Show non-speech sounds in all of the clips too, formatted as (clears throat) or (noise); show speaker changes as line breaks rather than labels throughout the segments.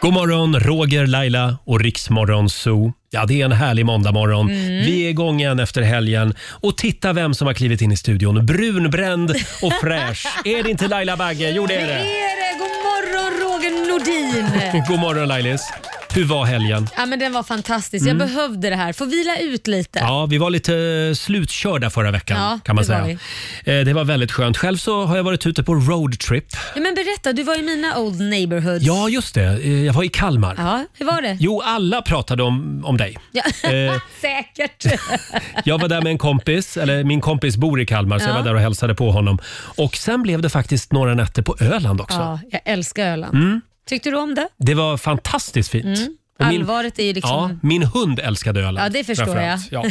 God morgon, Roger, Laila och Riksmorgon Zoo. Ja, det är en härlig måndagmorgon.
Mm.
Vi är igång igen efter helgen. Och titta vem som har klivit in i studion. Brunbränd och
(laughs)
fräsch. är det inte Laila Bagge? Jo, det är det.
är det! God morgon Roger Nordin!
(laughs) God morgon Lailis. Hur var helgen?
Ja, men den var fantastisk. Jag behövde det här. Få vila ut lite.
Mm. Ja, vi var lite eh, slutkörda förra veckan
Ja,
kan man
det
säga.
var
Eh, Det var väldigt skönt. Själv så har jag varit ute på roadtrip.
Ja, men berätta, du var i mina old neighborhoods.
Ja, just det. Eh, Jag var i Kalmar.
Ja, hur var det?
Jo, alla pratade om, om dig.
Ja.
Eh,
Säkert.
Jag var där med en kompis, eller min kompis bor i Kalmar, så jag
Ja.
var där och hälsade på honom. Och sen blev det faktiskt några nätter på Öland också.
(laughs) Ja, jag älskar Öland. Tyckte du om det?
Det var fantastiskt fint. Mm. Och min-
Allvaret är ju liksom...
Ja, min hund älskade ölen.
Mm. Ja, det förstår
framförallt.
(laughs)
Ja.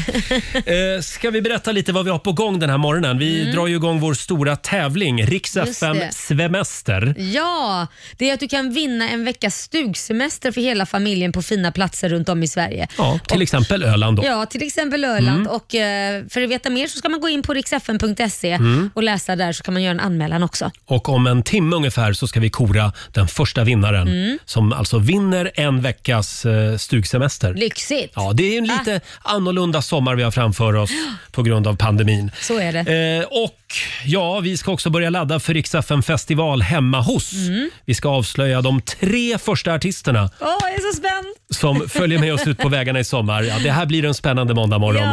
Eh, ska vi berätta lite vad vi har på gång den här morgonen? Vi drar ju igång vår stora tävling, Rix
Mm. Just
FM
det.
Svemester.
Ja. det är att du kan vinna en veckas stugsemester för hela familjen på fina platser runt om i Sverige.
Ja, till exempel Öland då.
Ja, till exempel
Mm.
Öland. Och, eh, för att veta mer så ska man gå in på riksfn.se
Mm.
och läsa där så kan man göra en anmälan också.
Och om en timme ungefär så ska vi kora den första vinnaren
Mm.
som alltså vinner en veckas eh, stugsemester.
Lyxigt!
Ja, det är ju en
Ah.
lite annorlunda sommar vi har framför oss på grund av pandemin.
Så är det.
Eh, och ja, vi ska också börja ladda för Riksaffen festival hemma hos.
Mm.
Vi ska avslöja de tre första artisterna
Åh, jag är så spänd!
som
(laughs)
följer med oss ut på vägarna i sommar. Ja, det här blir en spännande måndag morgon.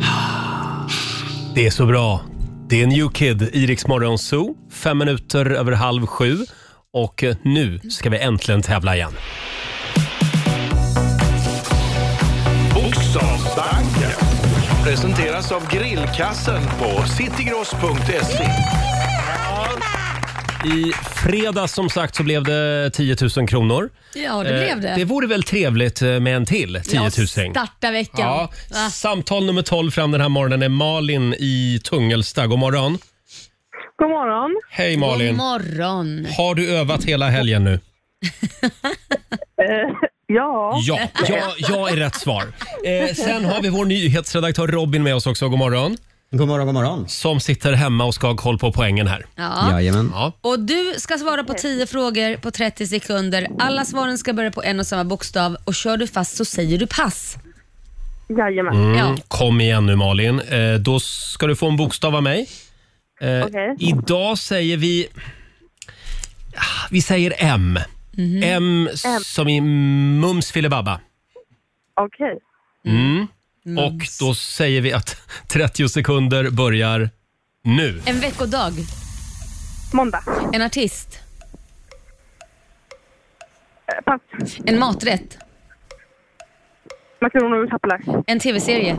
Ja.
Det är så bra. Det är New Kid, Iriks Morgonzoo. Fem minuter över halv sju. Och eh, nu ska vi äntligen tävla igen.
Bokstavsbanken presenteras av grillkassen på citygross.se.
I fredags som sagt så blev det 10 000 kronor.
ja, det blev det.
Eh, Det vore väl trevligt eh, med en till 10 000.
Ja, starta veckan.
Ja,
Va?
samtal nummer 12 fram den här morgonen är Malin i Tungelsta. God morgon.
God morgon.
Hej
God
Malin.
morgon!
Har du övat hela helgen nu?
Ja,
Ja, ja, ja är rätt svar. Eh, sen har vi vår nyhetsredaktör Robin med oss också. God morgon.
God morgon, god morgon.
Som sitter hemma och ska ha koll på poängen här.
Ja.
Jajamän.
Ja.
Och du ska svara på 10 frågor på 30 sekunder. Alla svaren ska börja på en och samma bokstav och kör du fast så säger du pass.
jajamän.
Mm.
Mm.
Ja.
Kom igen nu Malin. Eh, då ska du få en bokstav av mig. Eh,
Okej.
Idag säger vi... Ah, Vi säger M. M, som i Mums filibabba.
Okej.
Och då säger vi att (laughs) 30 sekunder börjar nu.
En veckodag,
Måndag.
en artist,
Eh, Pass.
en maträtt,
Makaroner och kapelar.
en tv-serie,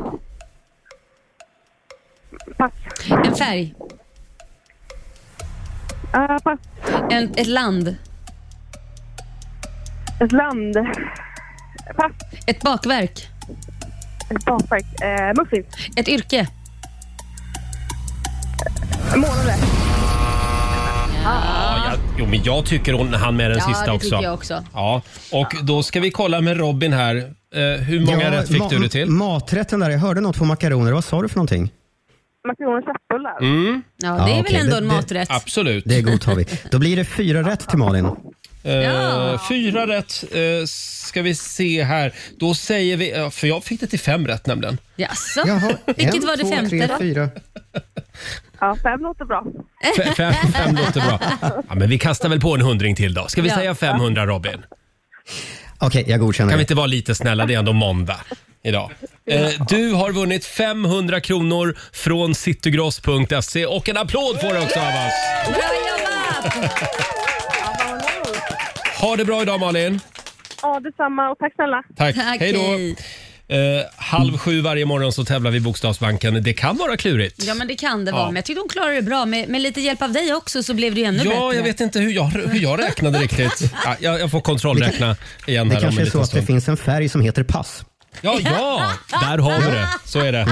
Pass.
en färg,
Eh, pass.
en, ett land,
Ett land. Pass.
ett bakverk,
Ett bakverk. Eh, muffins.
ett yrke.
Månade.
Ja, jag, jo, men jag tycker hon han med den
Ja,
sista
det
också.
tycker jag också.
Ja, och då ska vi kolla med Robin här. Eh, hur många rätt fick du det till?
Maträtten där, jag hörde något på makaroner. Vad sa du för någonting?
Makaroner och köttbullar.
Mm.
Ja, det
Ja,
är väl
okej.
ändå
Det-
en
det-
maträtt.
Absolut.
Det godtar vi. Då blir det fyra rätt till Malin.
Eh,
Ja.
Fyra rätt eh, ska vi se här. Då säger vi, ja, för jag fick det till fem rätt nämligen.
Jaså?
Jaha,
(laughs) Vilket
en,
var det
två,
femte
tre,
då?
fyra.
Ja, fem låter bra.
Fe- Fem, fem låter bra. Ja, men vi kastar väl på en hundring till då. Ska vi
Ja.
säga 500 Robin?
Okej, jag godkänner
Kan vi
det.
inte vara lite snälla? Det är ändå måndag idag. Eh, du har vunnit 500 kronor från citygross.se och en applåd får du också av oss.
Bra jobbat!
Ha det bra idag Malin.
Ja, detsamma och tack snälla.
Tack.
Tack,
Hej då.
hej.
Eh, halv sju varje morgon så tävlar vi i Bokstavsbanken. Det kan vara klurigt.
Ja, men det kan det
Ja.
vara. Men jag tyckte hon klarade det bra. Med, med lite hjälp av dig också så blev det ju ännu
Ja,
bättre.
jag vet inte hur jag, hur jag räknade riktigt. Ja, jag, jag får kontrollräkna igen
Det
här om
kanske
en
är så
liten
att det
stund.
finns en färg som heter pass.
Ja, ja, där har vi det. Så är det.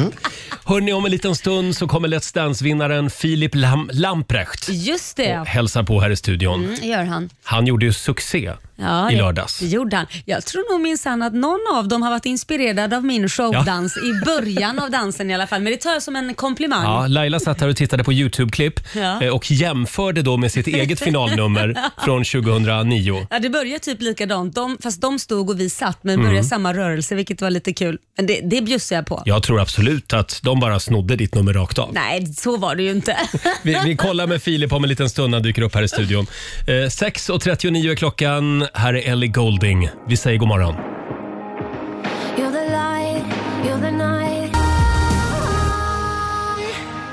Hörni, om en liten stund så kommer Let's Dance-vinnaren Filip Lam- Lamprecht
Just det.
hälsar på här i studion.
Mm, gör han.
Han gjorde ju succé
Ja,
i
det-
lördags.
Det gjorde han. Jag tror nog minsann att någon av dem har varit inspirerad av min showdans i början av dansen i alla fall. Men det tar jag som en komplimang.
Ja, Laila satt här och tittade på Youtube-klipp
Ja.
eh, och jämförde då med sitt eget finalnummer från 2009.
Ja, det började typ likadant, de, fast de stod och vi satt men
Mm.
började samma rörelse vilket var lite kul. Men det, det bjussar jag på.
Jag tror absolut att de bara snodde ditt nummer rakt av.
Nej, så var det ju inte.
(laughs) Vi, vi kollar med Filip om en liten stund när han dyker upp här i studion. Eh, 6.39 är klockan. Här är Ellie Golding. Vi säger god morgon.
You're the light, you're the night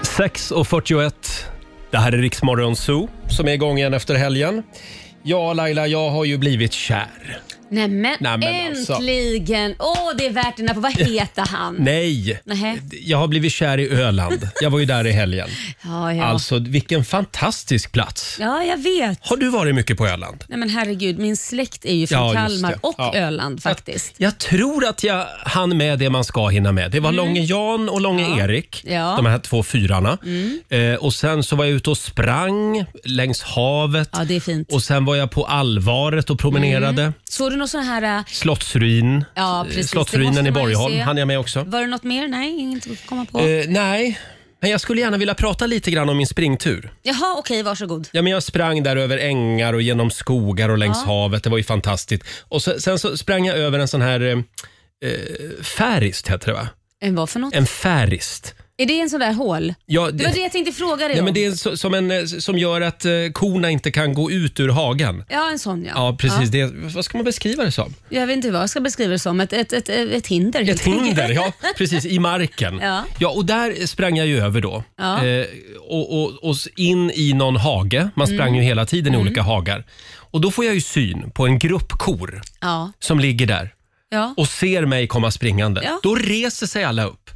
6.41. Det här är Riksmorgon Zoo som är igång igen efter helgen. Ja, Laila, jag har ju blivit kär.
Nej men,
Nej, men alltså.
äntligen! Åh, det är värt den här på. Vad heter han?
Nej,
Nähä.
jag har blivit kär i Öland. Jag var ju där i helgen.
Ja, ja.
Alltså, vilken fantastisk plats.
ja, jag vet.
Har du varit mycket på Öland?
Nej men herregud, min släkt är ju från
Ja, just
Kalmar
det.
och
Ja.
Öland faktiskt.
Jag tror att jag hann med det man ska hinna med. Det var Långe Jan och Långe Erik,
Mm. Ja. Mm.
de här två fyrarna. Eh, och sen så var jag ute och sprang längs havet.
Ja, det är fint.
Och sen var jag på Alvaret och promenerade.
Såg du någon sån här... äh,
Slottsruin. Eh,
Ja, precis. Det
Slottsruinen
måste
i
man ju
Borgholm
se.
hann jag med också.
Var det något mer? Nej, inget att komma på.
Eh, nej, men jag skulle gärna vilja prata lite grann om min springtur.
Jaha, okej, varsågod.
Ja, men jag sprang där över ängar och genom skogar och längs havet. Det var ju fantastiskt. Och så, sen så sprang jag över en sån här eh, eh, färist, heter det va?
En Eh, vad för något?
En färist.
Är det en sån där hål?
Ja,
Det var det jag tänkte fråga
ja,
dig om.
Eh. men det är så, som, en, eh, som gör att eh, korna inte kan gå ut ur hagen.
Ja, en sån ja.
Ja, precis. Det, vad ska man beskriva det som?
Jag vet inte vad jag ska beskriva det som. Ett, ett, ett, ett hinder. helt
Ett hinder, ja. Precis, i marken.
Ja.
och där sprang jag ju över då.
Ja.
Eh, och, och, och s- in i någon hage. Man sprang
Mm.
ju hela tiden i olika hagar. Och då får jag ju syn på en grupp kor
Ja,
som ligger där
ja.
och ser mig komma springande.
Ja. Mm.
Då reser sig alla upp.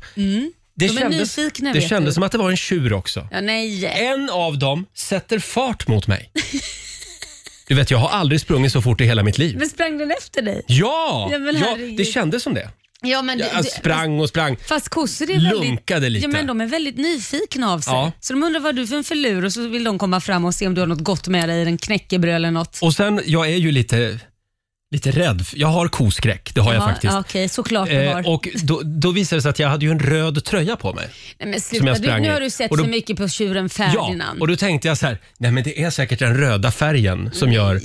Det,
De är
kändes,
nyfikna,
det
vet
kändes
du.
som att det var en tjur också.
ja nej.
En av dem sätter fart mot mig. Du vet, jag har aldrig sprungit så fort i hela mitt liv.
Men sprang den efter dig?
Ja!
Ja, men
ja
herregud.
det kändes som det.
Ja, men det,
Jag
det-
sprang och sprang.
Fast kossor är väldigt,
Lunkade lite.
Ja, men de är väldigt nyfikna av sig.
Ja.
Så de undrar vad du är för en filur och så vill de komma fram och se om du har något gott med dig, en knäckebröd eller något.
Och sen, jag är ju lite, lite rädd. Jag har koskräck, det har jag
Ja,
faktiskt.
ja, Okej, såklart du har.
Eh, och då, då visade det sig att jag hade ju en röd tröja på mig.
Nej, men
som jag
sluta, du,
sprang
nu
i.
har du sett
Och då-
för mycket på tjuren Ferdinand.
Ja, och då tänkte jag så här, nej men det är säkert den röda färgen som gör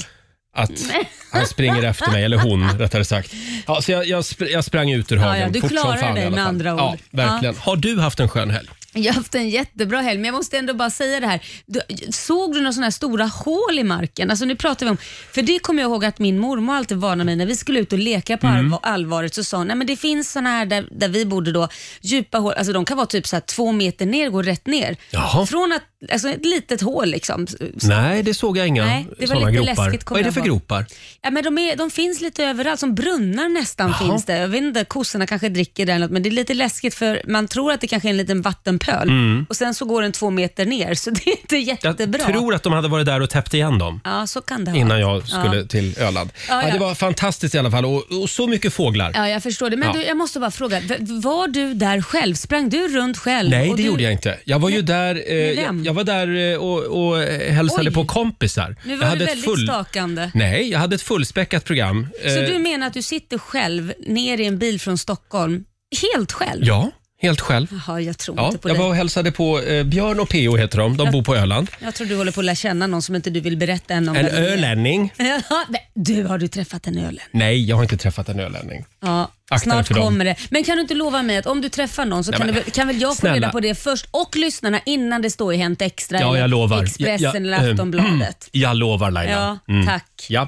att
(laughs)
han springer efter mig, eller hon rättare sagt. Ja, så jag, jag, spr- jag sprang ut ur
ja,
hagen
du
fort som
klarar
fan
dig
i alla
med
fall.
andra ord.
Ja, verkligen. Har du haft en skön helg?
Jag har haft en jättebra helg, men jag måste ändå bara säga det här. Du, såg du några sådana här stora hål i marken? Alltså nu pratar vi om, för det kommer jag ihåg att min mormor alltid varnade mig när vi skulle ut och leka på allvar, allvaret så sa hon, nej men det finns sådana här där, där vi bodde då, djupa hål, alltså de kan vara typ så här två meter ner, går rätt ner.
Jaha.
Från att, alltså ett litet hål liksom. Så,
Nej, det såg jag inga
Nej, det var
sådana
lite
gropar.
läskigt, kommer
Vad är det
jag
för
ihåg.
gropar?
ja, men de, är, de finns lite överallt, som brunnar nästan
Jaha.
finns det. Jag vet inte, kossorna kanske dricker där eller något, men det är lite läskigt för man tror att det kanske är en liten vattenpöl och sen så går den två meter ner, så det är inte
Mm. Jag
jättebra.
tror att de hade varit där och täppt igen dem.
Ja, så kan det ha
innan
varit.
jag skulle till Öland. Ja,
Ja, ja.
Det var fantastiskt i alla fall och, och så mycket fåglar.
Ja, jag förstår det. Men
Ja.
du, jag måste bara fråga, v- var du där själv? Sprang du runt själv?
Nej,
Och
det
du...
gjorde jag inte. Jag var ju där, eh,
med
jag,
vem?
jag var där eh, och, och eh, hälsade
Oj.
på kompisar.
Nu
jag
var du
ett
väldigt stakande.
Nej, jag hade ett fullspäckat program.
Så
Eh,
du menar att du sitter själv ner i en bil från Stockholm, helt själv?
Ja, helt själv.
Jaha, jag tror
Ja,
inte på
jag
det.
var och hälsade på eh, Björn och P.O. heter de. De bor på Öland.
Jag tror du håller på att lära känna någon som inte du vill berätta än om.
En
vem det är.
ölänning?
Ja, men du, har du träffat en ölen?
Nej, jag har inte träffat en ölänning.
Ja,
Akta dig
snart
för dem.
kommer det. Men kan du inte lova mig att om du träffar någon så
Nej,
kan,
men-
du, väl- kan väl jag få
snälla.
reda på det först och lyssnarna innan det står i Hänt Extra
Ja, ehm,
eller
jag lovar.
Expressen
Jag- jag-
eller Aftonbladet.
eh, (clears throat) Jag lovar Laila. Mm.
Ja, tack.
Ja.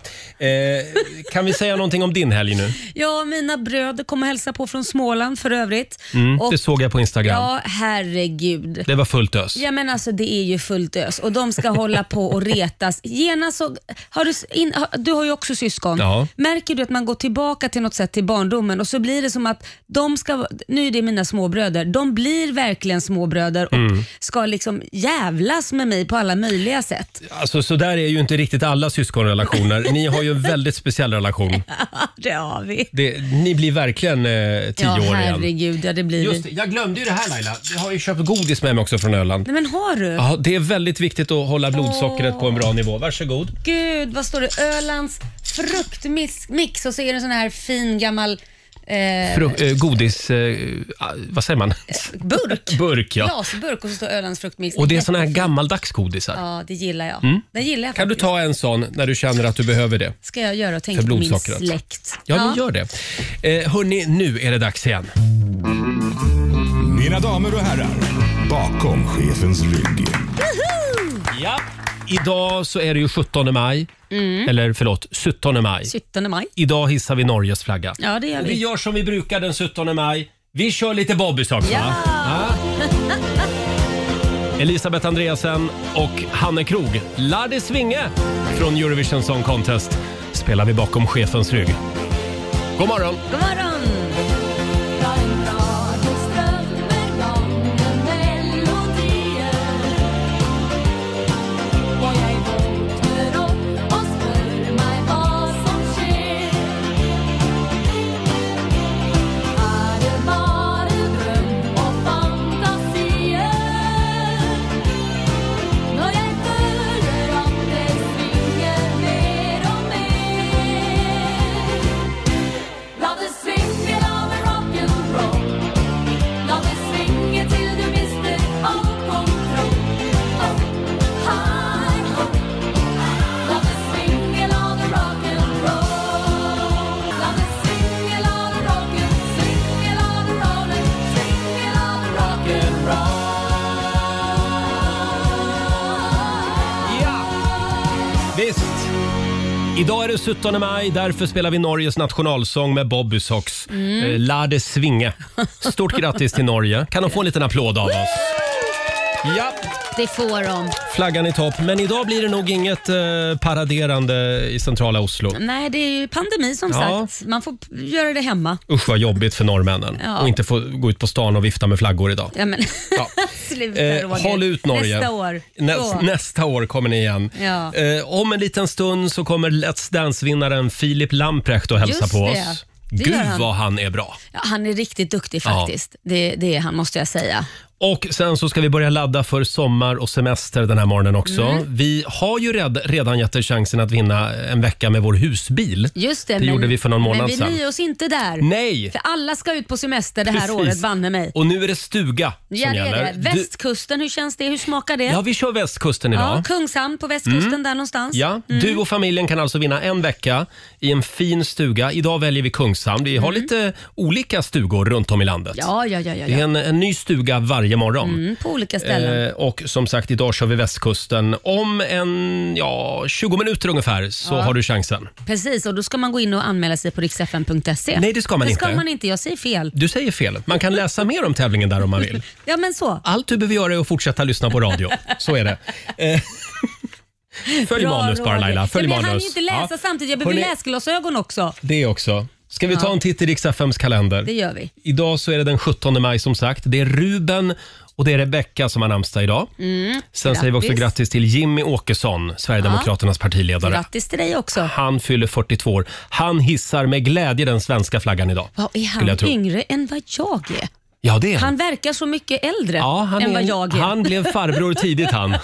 Eh, kan vi säga någonting om din helg nu?
Ja, mina bröder kommer hälsa på från Småland för övrigt. och,
Mm, Det såg jag på Instagram.
ja, herregud.
Det var fullt ös.
Ja men alltså det är ju fullt ös och de ska hålla på och retas. Genast så, har du, s- in, har- du har ju också syskon.
Ja.
Märker du att man går tillbaka till något sätt till barndomen och så blir det som att de ska, nu är det mina småbröder, de blir verkligen småbröder och
Mm.
ska liksom jävlas med mig på alla möjliga sätt.
Alltså så där är ju inte riktigt alla syskonrelationer. Ni har ju en väldigt speciell relation.
(laughs) det har vi.
Det, ni blir verkligen eh, tio
Ja,
år igen.
herregud, ja det blir
Just det,
vi.
jag glömde ju det här Laila. Jag har ju köpt godis med mig också från Öland.
Nej men har du?
Ja, det är väldigt viktigt att hålla blodsockret på en bra nivå. Varsågod.
Gud, vad står det? Ölands fruktmix och så är det en sån här fin gammal eh,
Fru, eh, godis... Eh, ah, vad säger man? (laughs)
burk.
Burk, ja.
Glasburk och så står Ölands fruktmix.
Och det är såna här gammaldags godisar.
Ja, det gillar jag. Den gillar jag
Kan du
faktiskt.
ta en sån när du känner att du behöver det?
ska jag göra och tänka
För
på min
blodsockret.
släkt.
Ja, men gör det. Eh, hörni, nu är det dags igen.
Mina damer och herrar, bakom chefens rygg.
Ja. Idag så är det ju 17 maj. Eller förlåt, 17 maj.
17 maj.
Idag hissar vi Norges flagga.
Ja, det gör
Och vi
vi.
gör som vi brukar den 17 maj. Vi kör lite Bobbys också. va? Ja. Elisabeth Andreasen och Hanne Krog. Ladde Svinge från Eurovision Song Contest spelar vi bakom chefens rygg. God morgon!
God morgon!
La det svinge, la det rock'n'roll La det svinge til du mister all kontroll Oh, hi, ho La det svinge, la det rock'n'roll La det svinge, la det rocken Svinge, la det rollen Svinge, la det rock'n'roll
Ja! Visst! Idag är det 17 maj, därför spelar vi Norges nationalsång med Bobby Sox. Mm. Lade Svinge. Stort grattis till Norge. Kan de få en liten applåd av oss? Ja,
Det får de.
flaggan i topp. Men idag blir det nog inget eh, paraderande i centrala Oslo.
Nej, det är ju pandemi som
Ja.
sagt. Man får p- göra det hemma.
Usch vad jobbigt för norrmännen
Ja.
och inte få gå ut på stan och vifta med flaggor idag.
Ja, men.
Ja.
(laughs) Sluta
Eh,
Roger.
håll ut Norge.
Nästa år.
Näs,
Då.
nästa år kommer ni igen.
Ja.
Eh, om en liten stund så kommer Let's Dance-vinnaren Filip Lamprecht och hälsa
Just
på
det.
oss.
Det
Gud
gör han.
vad han är bra.
Ja, han är riktigt duktig
Ja.
faktiskt. Det, det är han måste jag säga.
Och sen så ska vi börja ladda för sommar och semester den här morgonen också.
Mm.
Vi har ju red, redan gett er chansen att vinna en vecka med vår husbil.
Just det,
Det gjorde vi för någon månad
men vi
sedan.
nöjer oss inte där.
Nej!
För alla ska ut på semester det här
Precis.
året, banne mig.
Och nu är det stuga som
Ja, det
gäller.
är det.
Du-
Västkusten, hur känns det? Hur smakar det?
Ja, vi kör västkusten idag. Mm.
Ja, Kungshamn på västkusten där någonstans.
Ja, Du och familjen kan alltså vinna en vecka i en fin stuga. Idag väljer vi Kungshamn. Vi har lite olika stugor runt om i landet.
Mm. ja, ja, ja. ja,
Det är
ja.
en, en ny stuga varje morgon.
Mm, på olika ställen.
Eh, och som sagt, idag kör vi västkusten. Om en, ja, 20 minuter ungefär så har du chansen.
Precis, och då ska man gå in och anmäla sig på riksfn.se.
Nej, det ska man
det ska
inte.
man inte. Jag säger fel.
Du säger fel. Man kan läsa mer om tävlingen där om man
(laughs)
vill.
Ja, men så.
Allt du behöver göra är att fortsätta lyssna på radio. Så är det. Eh, (laughs) Följ
Bra,
manus bara
Roger.
Laila. Följ
ja, men Jag hann
manus.
ju inte läsa
Ja.
samtidigt. Jag behöver
Hörrni-
läsglasögon också.
Det också. Ska vi ta en titt i riks kalender?
Det gör vi.
Idag så är det den 17 maj som sagt. Det är Ruben och det är Rebecka som har namnsdag idag. Sen säger vi också
Mm, grattis.
grattis till Jimmy Åkesson, Sverigedemokraternas partiledare.
Grattis till dig också.
Han fyller 42 år. Han hissar med glädje den svenska flaggan idag.
Vad är
skulle jag
han
tro.
yngre än vad jag är?
Ja, det är han.
Han verkar så mycket äldre
Ja, han,
än
är,
vad
en-
jag är.
han blev farbror tidigt han.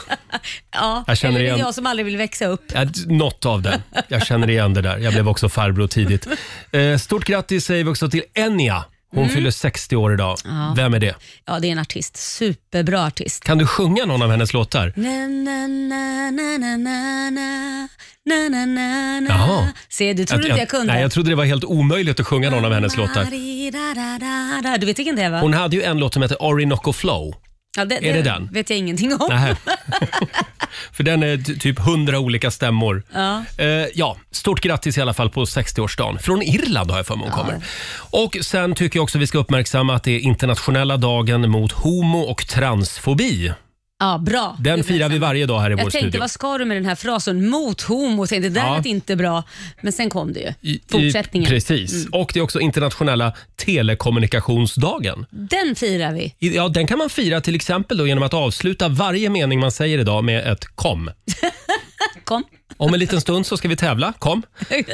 ja,
jag känner
eller det är
igen-
jag som aldrig vill växa upp.
Ja, d- Något av det. Jag känner igen det där. Jag blev också farbror tidigt. Eh, Stort grattis säger vi också till Enya. Hon fyller 60 år idag. Vem är det?
Mm. Ja, det är en artist. Superbra artist.
Kan du sjunga någon av hennes låtar?
Na, na, na, na, na, na, na, na, na, na, na.
Jaha.
Se, du trodde inte jag kunde. Mm,
Nej, jag trodde det var helt omöjligt att sjunga någon av hennes låtar.
låtar. Du vet vilken det är va?
Hon hade ju en låt som hette Orinoco Flow.
ja, det,
är det den?
vet jag ingenting om.
Nähä. För den är ty- typ hundra olika stämmor.
Ja.
Eh, ja, stort grattis i alla fall på 60-årsdagen. Från Irland har jag för mig hon kommer. Och sen tycker jag också vi ska uppmärksamma att det är internationella dagen mot homo och transfobi
Ja, bra.
Den
Det
firar vi
blir samma.
varje dag här i
Jag
vår
tänkte,
studio.
vad ska du med den här frasen? Mot homo. Tänkte, det där
Ja.
lät inte bra. Men sen kom det ju.
I- i-
Fortsättningen. Mm.
Precis. Och det är också internationella telekommunikationsdagen.
Den firar vi.
I- Ja, den kan man fira till exempel då genom att avsluta varje mening man säger idag med ett kom.
Kom.
Om en liten stund så ska vi tävla. Kom.
Nej,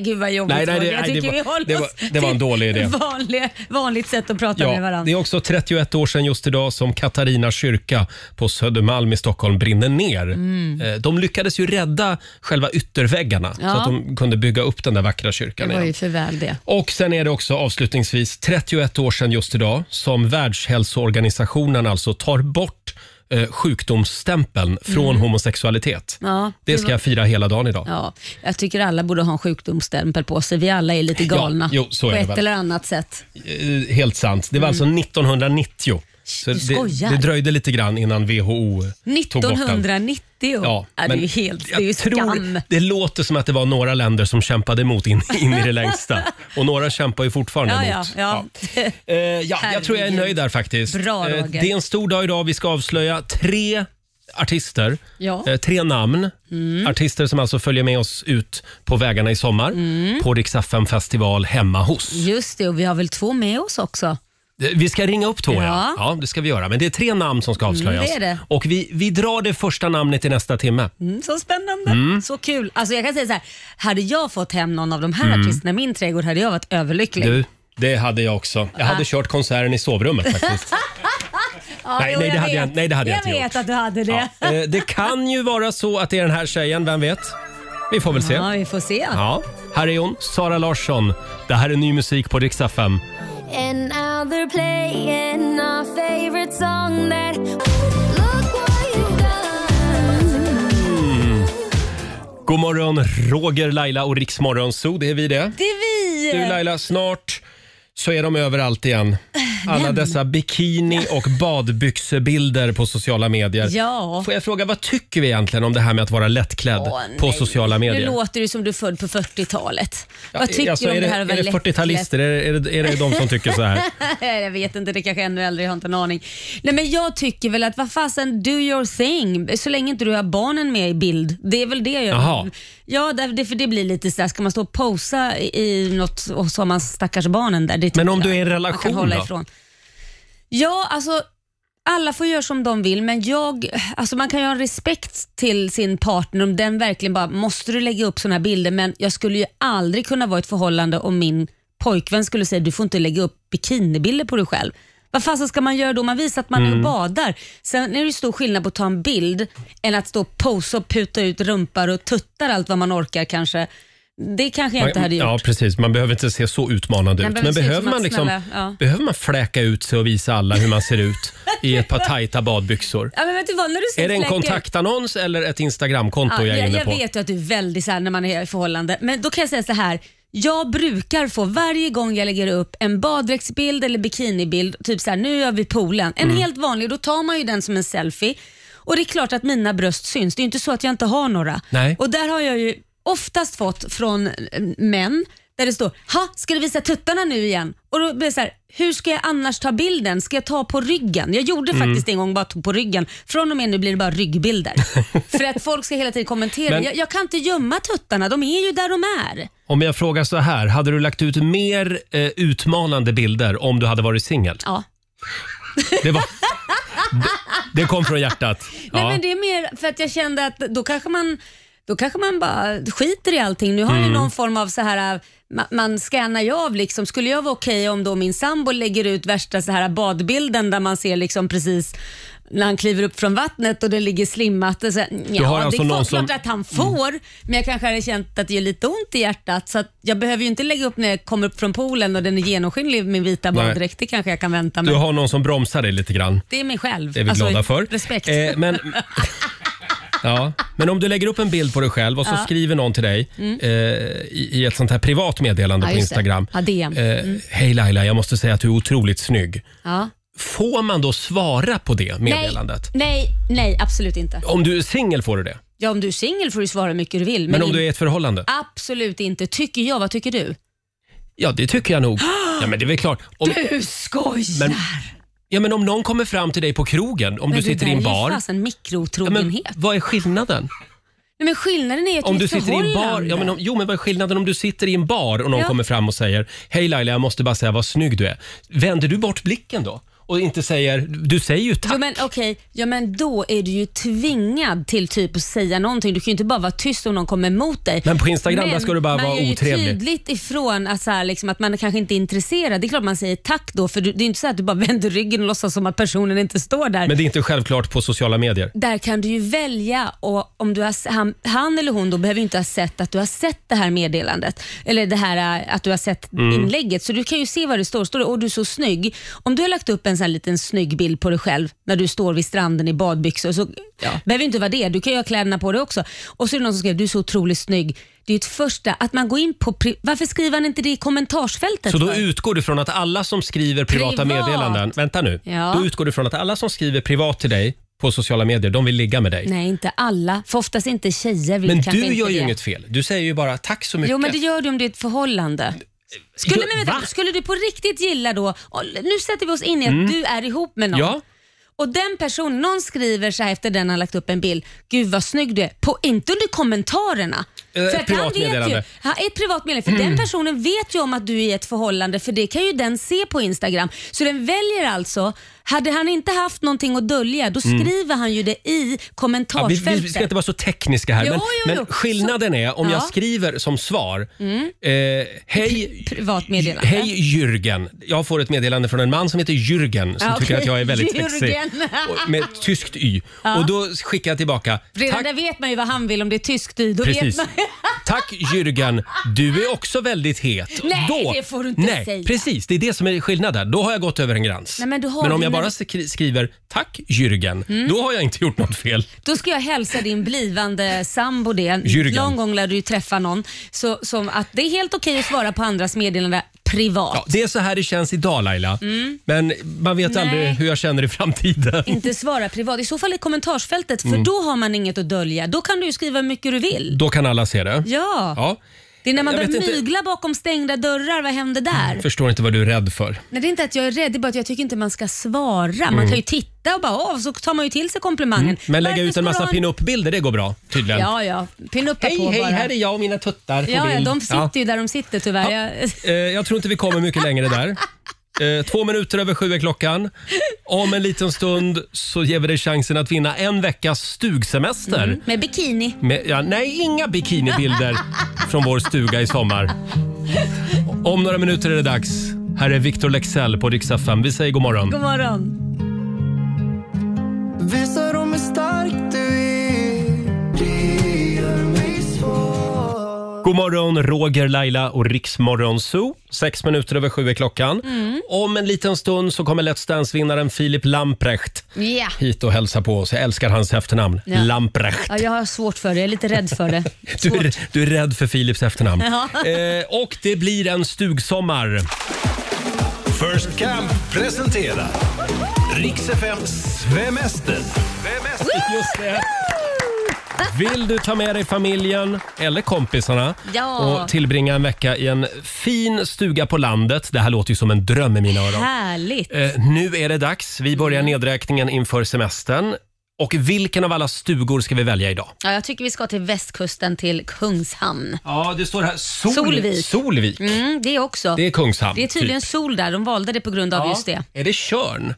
gud vad jobbigt.
Nej, nej, det-
Roger. jag
nej, det
tycker
var-
vi håller
det var-
oss
det var en
till
dålig idé.
(laughs) Vanliga, vanligt sätt att prata med
Ja, det
varandra.
är också 31 år sedan just idag som Katarina kyrka på Södermalm i Stockholm brinner ner.
Mm.
Eh, De lyckades ju rädda själva ytterväggarna
Ja.
så att de kunde bygga upp den där vackra kyrkan
Det var
igen.
ju för väl det.
Och sen är det också avslutningsvis 31 år sedan just idag som Världshälsoorganisationen alltså tar bort eh, sjukdomsstämpeln från homosexualitet.
Mm. Ja,
det
det
ska
var-
jag fira hela dagen idag.
Ja, jag tycker alla borde ha en sjukdomsstämpel på sig. Vi alla är lite galna
jo, så är
på
det
ett
väl.
eller annat sätt.
Eh, Helt sant. Det var alltså 1990. Så
Mm. Du
det,
skojar.
det dröjde lite grann innan WHO tog bort den.
1990. Ja, det är
men
ju helt det är
jag
ju
tror-
skam.
Det låter som att det var några länder som kämpade emot in, in i det
(laughs)
längsta. Och några kämpar ju fortfarande
Ja, ja,
emot.
ja.
Eh, ja, jag tror jag är
Herregud.
nöjd där faktiskt.
Bra,
Eh,
Roger.
det är en stor dag idag. Vi ska avslöja tre artister.
Ja. Mm.
Eh, tre namn. Artister som alltså följer med oss ut på vägarna i sommar.
Mm.
På Rix FM festival hemma hos.
Just det, och vi har väl två med oss också.
Eh, Vi ska ringa upp två, ja. ja.
Ja. Mm,
det ska vi göra. Men det är tre namn som ska avslöjas.
det är det.
Och vi, vi drar det första namnet i nästa timme.
Mm, så spännande, så kul. Alltså jag kan säga så här, hade jag fått hem någon av de här artisterna i min trädgård hade jag varit överlycklig.
Mm. Du, det hade jag också. Jag hade kört konserten i sovrummet
(laughs)
faktiskt.
Ja,
nej, nej,
jo,
det
jag
hade jag-
vet.
nej, det hade jag inte
Jag
gjort.
vet att du hade det.
Ja. Eh, Det kan ju vara så att det är den här tjejen, vem vet? Vi får väl se.
Ja, vi får se.
Ja, här är hon, Sara Larsson. Det här är ny musik på Rix FM.
And now they're playing our favorite song that Look what you've done.
God morgon, Roger, Laila och Rix Morgon Zoo. Det är vi det.
Det är vi!
Du Laila, snart så är de överallt igen. Alla dessa bikini och badbyxebilder på sociala medier.
Ja.
Får jag fråga, vad tycker vi egentligen om det här med att vara lättklädd
Åh,
på
nej.
sociala medier?
Nu låter du som du är född på 40-talet.
Ja,
Vad tycker
alltså,
du om
är
det, här att
Är
vara
det 40-talister? Är, det- är, det- är det de som tycker så här?
lättklädd? (laughs) jag vet inte, det kanske är ännu äldre, jag har inte en aning. Nej men jag tycker väl att vad fasen, do your thing. Så länge inte du har barnen med i bild. Det är väl det jag...
Jaha.
Ja, där- det, för det blir lite så här, ska man stå och posa i i något och så har man stackars barnen där. Det tycker
Men om
jag
du är i en
man kan
relation
hålla
då?
ifrån. Ja, alltså alla får göra som de vill, men jag, alltså man kan ju ha respekt till sin partner om den verkligen bara, måste du lägga upp sådana här bilder? Men jag skulle ju aldrig kunna vara i ett förhållande om min pojkvän skulle säga, du får inte lägga upp bikinibilder på dig själv. Vad fasen ska man göra då? Man visar att man
Mm.
är och badar. Sen är det ju stor skillnad på att ta en bild än att stå och posa och puta ut rumpar och tuttar allt vad man orkar kanske. Det kanske jag inte hade gjort.
Ja, precis. Man behöver inte se så utmanande
Nej,
ut.
men
Men
det ser ut
behöver
som
man,
att
liksom,
snälla, ja.
behöver man fläka ut sig och visa alla hur man ser ut i ett
(laughs)
par tajta badbyxor?
Ja, men vet du vad, när du ser
Är det en
fläckar-
kontaktannons eller ett Instagramkonto
Ja,
jag är
jag,
inne
jag
på?
vet ju att du är väldigt så här när man är i förhållande, men då kan jag säga så här. Jag brukar få varje gång jag lägger upp en baddräktsbild eller bikinibild, typ så här, nu är vi i poolen. En
Mm.
helt vanlig, då tar man ju den som en selfie. Och det är klart att mina bröst syns, det är ju inte så att jag inte har några.
Nej.
Och där har jag ju oftast fått från eh, män där det står “Ha, ska du visa tuttarna nu igen?” Och då blir det så här, hur ska jag annars ta bilden? Ska jag ta på ryggen? Jag gjorde faktiskt en gång bara tog på ryggen. Från och med nu blir det bara ryggbilder. För att folk ska hela tiden kommentera.
Men-
jag, jag kan inte gömma tuttarna, de är ju där de är.
Om jag frågar så här, hade du lagt ut mer eh, utmanande bilder om du hade varit singel?
Ja.
Det,
(laughs)
var... det, det kom från hjärtat.
Nej,
Ja.
men det är mer för att jag kände att då kanske man då kanske man bara skiter i allting. Nu har mm. ju någon form av så här, man, man scannar ju av liksom. Skulle jag vara okej om då min sambo lägger ut värsta så här badbilden där man ser liksom precis när han kliver upp från vattnet och det ligger slimmat. Och så, här, ja,
har alltså
det är
någon
klart
som- Mm.
att han får, men jag kanske hade känt att det gör lite ont i hjärtat. Så att jag behöver ju inte lägga upp när jag kommer upp från poolen och den är genomskinlig, min vita
Nej.
baddräkt. Det kanske jag kan vänta
Du
med.
har någon som bromsar dig lite grann.
Det är mig själv.
Det är vi
Alltså,
glada för.
Respekt.
Eh, men,
(laughs)
ja. men om du lägger upp en bild på dig själv och så skriver någon till dig eh, i, i ett sånt här privat meddelande
Mm. Ja,
på
just det.
Instagram.
Ja, Mm. DM.
Eh, Hej Laila, jag måste säga att du är otroligt snygg.
ja.
Får man då svara på det meddelandet?
Nej, nej, nej absolut inte.
Om du är singel får du det,
Ja, om du är singel får du svara hur mycket du vill. Men,
men om
in-
du är i ett förhållande?
Absolut inte, tycker jag. Vad tycker du? (gasps)
Ja, det tycker jag nog. Ja, men det är väl klart. Om,
Du skojar!
men, Ja, men om någon kommer fram till dig på krogen, om
Men
du sitter i en
Det där är
bar.
ju fasen
Ja, men,
mikrotrogenhet.
vad är skillnaden?
Nej, men skillnaden är ju att
Om
vi är
du sitter i en bar,
förhållande.
ja, men om, jo men vad är skillnaden om du sitter i en bar och någon
Ja.
kommer fram och säger Hej Laila, jag måste bara säga vad snygg du är. Vänder du bort blicken då? Och inte säger, du säger ju tack.
Jo men okej, ja, men då är du ju tvingad till typ att säga någonting. Du kan ju inte bara vara tyst om någon kommer emot dig.
Men på Instagram,
Men
där ska du bara vara
Man
otrevlig.
gör ju tydligt ifrån att, så här, liksom, att man kanske inte är intresserad. Det är klart man säger tack då, för du, det är ju inte så att du bara (laughs) vänder ryggen och låtsas som att personen inte står där.
Men det är inte självklart på sociala medier.
där kan du ju välja och om du har, han, han eller hon då behöver ju inte ha sett att du har sett det här meddelandet eller det här eh, att du har sett
Mm.
inlägget. Så du kan ju se vad det står. Står det åh du är så snygg. Om du har lagt upp en sån här liten snygg bild på dig själv när du står vid stranden i badbyxor så behöver ju inte vara det. Du kan ju ha kläderna på dig också. Och så är det någon som skriver du är så otroligt snygg. Det är ju ett första, att man går in på, pri- varför skriver han inte det i kommentarsfältet?
Så då
för?
utgår du från att alla som skriver privata
Privat.
meddelanden, vänta nu.
Ja.
Då utgår du från att alla som skriver privat till dig på sociala medier, de vill ligga med dig.
Nej, inte alla. För oftast inte tjejer vill
men
kanske
du
inte
gör ju
det.
inget fel. Du säger ju bara tack så mycket. eh,
Jo, men det gör du om det är ett förhållande. Skulle, men,
va?
vänta, skulle du på riktigt gilla då, och nu sätter vi oss in i att du är ihop med någon
Mm. Ja,
och den personen, någon skriver så här efter den har lagt upp en bild, gud vad snygg du är, på, inte under kommentarerna.
Eh, ett
att han vet ju,
privatmeddelande. Mm.
ha, ett privatmeddelande, för den personen vet ju om att du är i ett förhållande för det kan ju den se på Instagram. Så den väljer alltså, hade han inte haft någonting att dölja då skriver han ju det i
Mm. Ja, vi, vi
kommentarsfältet.
vi ska inte vara så tekniska här,
Jo,
men,
jo,
men
jo.
skillnaden är om
Ja. Mm.
jag skriver som svar. Eh, hej,
Privatmeddelande.
hej Jürgen. Jag får ett meddelande från en man som heter Jürgen som
Ja,
tycker
okej.
att jag är
(laughs)
väldigt
Jürgen.
sexig. Och- Med ett tyskt Y. Och då skickar jag tillbaka.
Redan
Tack,
där vet man ju vad han vill om det är tyskt i. Då vet
precis.
(laughs) man
Tack Jürgen, du är också väldigt het.
Nej,
då,
det får du inte
nej,
säga.
Precis, det är det som är skillnaden. Då har jag gått över en gräns.
Nej, men du Mm. har
om
det
jag
när
bara
du-
skri- skriver tack Jürgen, då har jag inte gjort något fel.
Då ska jag hälsa din blivande sambo det.
Jürgen.
Någon gång lär du ju träffa någon. Så, som att det är helt okej att svara på andras meddelanden privat.
Ja, det är så här det känns idag Laila. Men man vet
Nej.
aldrig hur jag känner i framtiden.
Inte svara privat. I så fall i kommentarsfältet,
Mm.
för då har man inget att dölja. Då kan du ju skriva hur mycket du vill.
Då kan alla se det.
Ja.
Ja.
Det är när man
Jag vet
börjar
inte- Mm.
mygla bakom stängda dörrar. Vad händer där?
Förstår inte vad du är rädd för.
Nej, det är inte att jag är rädd, det är bara att jag tycker inte man ska svara. Man kan ju titta och bara av så tar man ju till sig komplimangen.
Mm. Men lägga
Varför
ut en
ska du
massa
ha en-
pinup-bilder, det går bra tydligen.
Ja, ja. Pinuppa
Hej,
på
hej,
bara.
här är jag och mina tuttar på
ja, ja,
bild.
de sitter ju där de sitter tyvärr. Jag... (laughs)
Eh, Jag tror inte vi kommer mycket längre där. Eh, Två minuter över sju är klockan. Om en liten stund så ger vi dig chansen att vinna en veckas stugsemester.
Med bikini.
Med, ja, nej, inga
(laughs)
bikinibilder från vår stuga i sommar. Om några minuter är det dags. Här är Victor Lexell på Rix FM. Vi säger god morgon.
God morgon.
Visa dem hur stark du är Det gör mig svår
God morgon, Roger, Laila och Riksmorgon Zoo. Sex minuter över sju är klockan.
Mm.
Om en liten stund så kommer Let's Dance-vinnaren Filip Lamprecht
Ja.
hit och hälsa på oss. Jag älskar hans efternamn.
Ja.
Lamprecht.
ja, jag har svårt för det. Jag är lite rädd
(laughs)
för det.
Du
Svårt.
är, du är rädd för Filips efternamn. Eh, och det blir en stugsommar.
First Camp presenterar Riks FM Svemester.
Just det. Vill du ta med dig familjen eller kompisarna
Ja.
och tillbringa en vecka i en fin stuga på landet? Det här låter ju som en dröm i mina öron.
Härligt.
Eh, nu är det dags. Vi börjar
Mm.
nedräkningen inför semestern. Och vilken av alla stugor ska vi välja idag?
Ja, jag tycker vi ska till västkusten till Kungshamn.
Ja, det står här Sol-
Solvik.
Solvik.
Mm, det också.
Det är Kungshamn.
Det är tydligen
typ.
sol där. De valde det på grund av just det.
Är det Körn?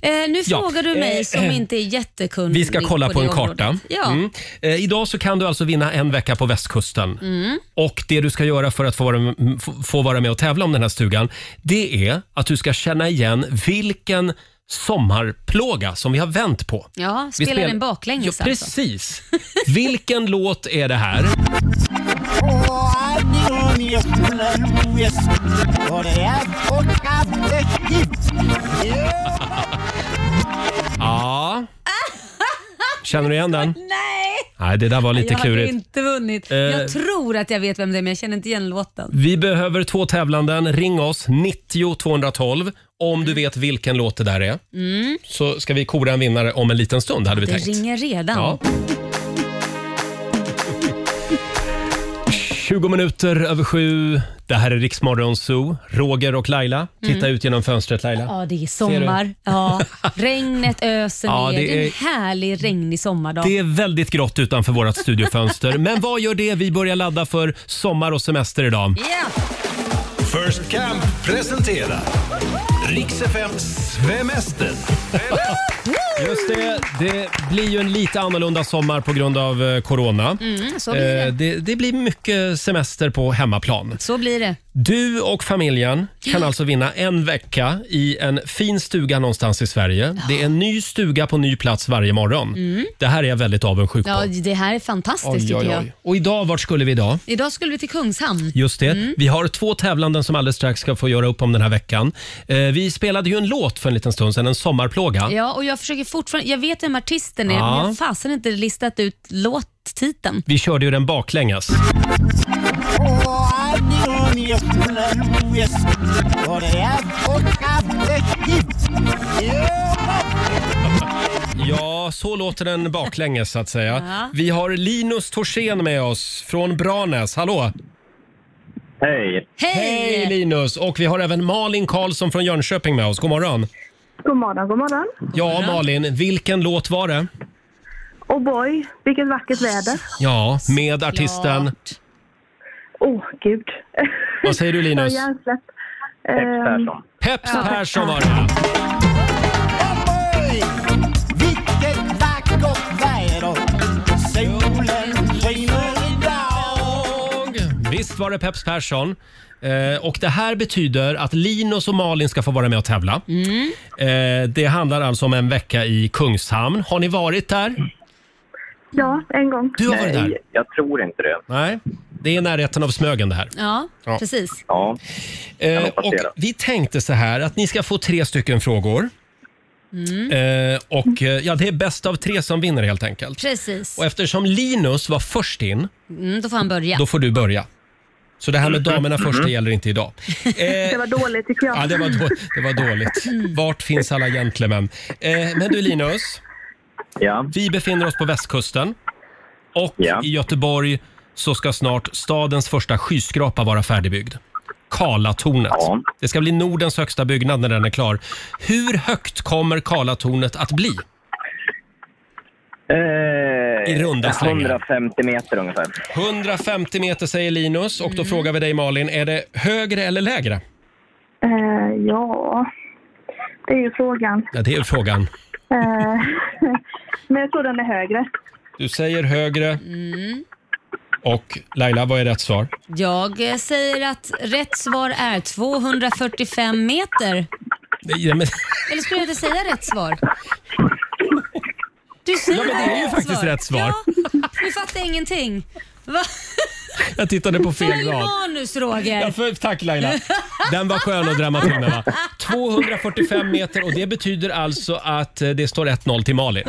Eh, nu
Ja.
frågar du mig
Eh,
som
eh.
inte är jättekunnig
Vi ska kolla på,
det
en karta.
området. Ja.
Mm. Eh, idag så kan du alltså vinna en vecka på västkusten.
Mm.
Och Det du ska göra för att få vara, m- f- få vara med och tävla om den här stugan det är att du ska känna igen vilken sommarplåga som vi har vänt på.
Ja,
Vi
spelar den baklänges
ja,
alltså.
Precis. Vilken låt är det här? Ja. Känner du igen den?
Nej,
Nej, det där var lite
jag hade
klurigt.
inte vunnit.
Eh.
Jag tror att jag vet vem det är men jag känner inte igen låten.
Vi behöver två tävlanden. Ring oss, 90 212, om du vet vilken låt det där är. Så ska vi kora en vinnare om en liten stund, hade vi
Mm. Det
tänkt.
ringer redan.
Ja. 20 minuter över sju. Det här är Riksmorgon Zoo. Roger och Laila. Titta ut genom fönstret Laila.
Mm. Ja, det är
du?
sommar.
(laughs)
Ja, regnet öser
Ja,
ner.
det
Det är en
är-
härlig regnig sommardag.
Det är väldigt grått utanför vårt studiofönster. Men vad gör det? Vi börjar ladda för sommar och semester idag.
Ja!
First Camp presenterar Riks FMs svemester.
Just det, det blir ju en lite annorlunda sommar på grund av eh, corona.
Mm, så, blir det.
Eh, det, det blir mycket semester på hemmaplan.
så blir det.
Du och familjen kan alltså vinna en vecka i en fin stuga någonstans i Sverige. Det är en ny stuga på ny plats varje morgon. Det här är jag väldigt avundsjuk
Mm. Ja,
på.
det här är fantastiskt tycker jag.
Och idag, vart skulle vi idag?
Idag skulle vi till Kungshamn.
Just det.
Mm.
Vi har två tävlanden som alldeles strax ska få göra upp om den här veckan. Eh, vi spelade ju en låt för en liten stund sedan, en sommarplåga.
Ja, och jag försöker fortfarande, jag vet vem artisten är,
Ja.
men jag har fasen inte listat ut låttiteln.
Vi körde ju den baklänges. Ja, så låter den baklänges så att säga.
Ja.
Vi har Linus Torssén med oss från Branäs. Hallå!
Hej!
Hej!
Hej Linus! Och vi har även Malin Karlsson från Jönköping med oss. God morgon!
God morgon, god morgon.
Ja, Malin, vilken låt var det?
Oh boy, vilket vackert väder.
Ja, med artisten...
Klart.
Åh, oh, gud.
Vad säger du, Linus?
Jag har hjärnsläpp.
Peps Persson.
Peps Persson var det.
Vilket vackert väder Solen skiner
Visst var det Peps Persson. Eh, och det här betyder att Linus och Malin ska få vara med och tävla.
Mm.
Eh, det handlar alltså om en vecka i Kungshamn. Har ni varit där?
Ja, en gång.
Du har varit där?
Nej, jag tror inte det.
Nej. Det är närheten av Smögen det här.
Ja,
Ja.
precis.
Ja,
Eh,
hoppas
och
det då.
vi tänkte så här att ni ska få tre stycken frågor. Eh, och eh, ja, det är bäst av tre som vinner helt enkelt.
Precis.
Och eftersom Linus var först in
Mm, då får han börja.
Då får du börja. Så det här
Mm-hmm.
med damerna först, det gäller inte idag.
Det
Eh,
var dåligt tycker jag.
ja, det, var då, det var dåligt. Vart finns alla gentlemän? Eh, men du Linus,
ja.
vi befinner oss på västkusten och
Ja.
i Göteborg så ska snart stadens första skyskrapa vara färdigbyggd. Karlatornet.
Ja.
Det ska bli Nordens högsta byggnad när den är klar. Hur högt kommer Karlatornet att bli?
Eh,
I runda slängar.
150 meter ungefär.
150 meter säger Linus och då frågar vi dig Malin, är det högre eller lägre?
Eh, ja, det är ju frågan.
Ja, det är frågan.
Eh, men jag tror den är högre.
Du säger högre. Och Laila, vad är rätt svar?
Jag eh, säger att rätt svar är 245 meter.
Ja, men, (laughs)
Eller skulle jag inte säga rätt svar? Du säger
Ja, men det är ju faktiskt rätt svar.
Ja, du fattar ingenting. Va?
jag tittade på
Följ
fel rad.
manus,
Ja,
Roger.
för, tack Laila. Den var skön att drämma till med va? 245 meter och det betyder alltså att eh, det står 1-0 till Malin.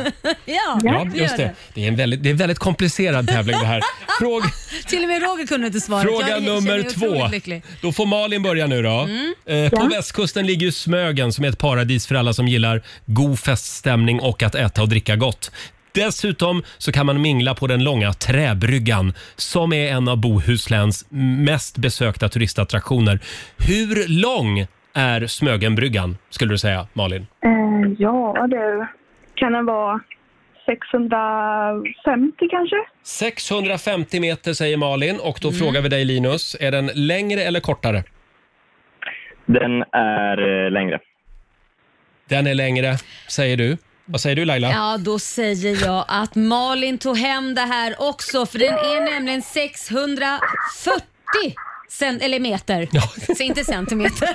Ja,
Ja,
det
just
gör
det. Det är en väldigt, det är en väldigt komplicerad tävling det här. Fråg,
Till och med Roger kunde inte svara.
fråga
jag känner
nummer
mig otroligt
två.
Lycklig. Mm.
Då får Malin börja nu då. Eh, på västkusten ligger ju Smögen som är ett paradis för alla som gillar god feststämning och att äta och dricka gott. Dessutom så kan man mingla på den långa träbryggan som är en av Bohusläns mest besökta turistattraktioner. Hur lång är Smögenbryggan skulle du säga Malin?
Eh, ja, du. Kan den vara 650 kanske?
650 meter säger Malin och då
Mm.
frågar vi dig Linus, är den längre eller kortare?
Den är eh, längre.
Den är längre säger du. Vad säger du Laila?
Ja, då säger jag att Malin tog hem det här också för den är nämligen 640 cent eller meter. Så inte centimeter.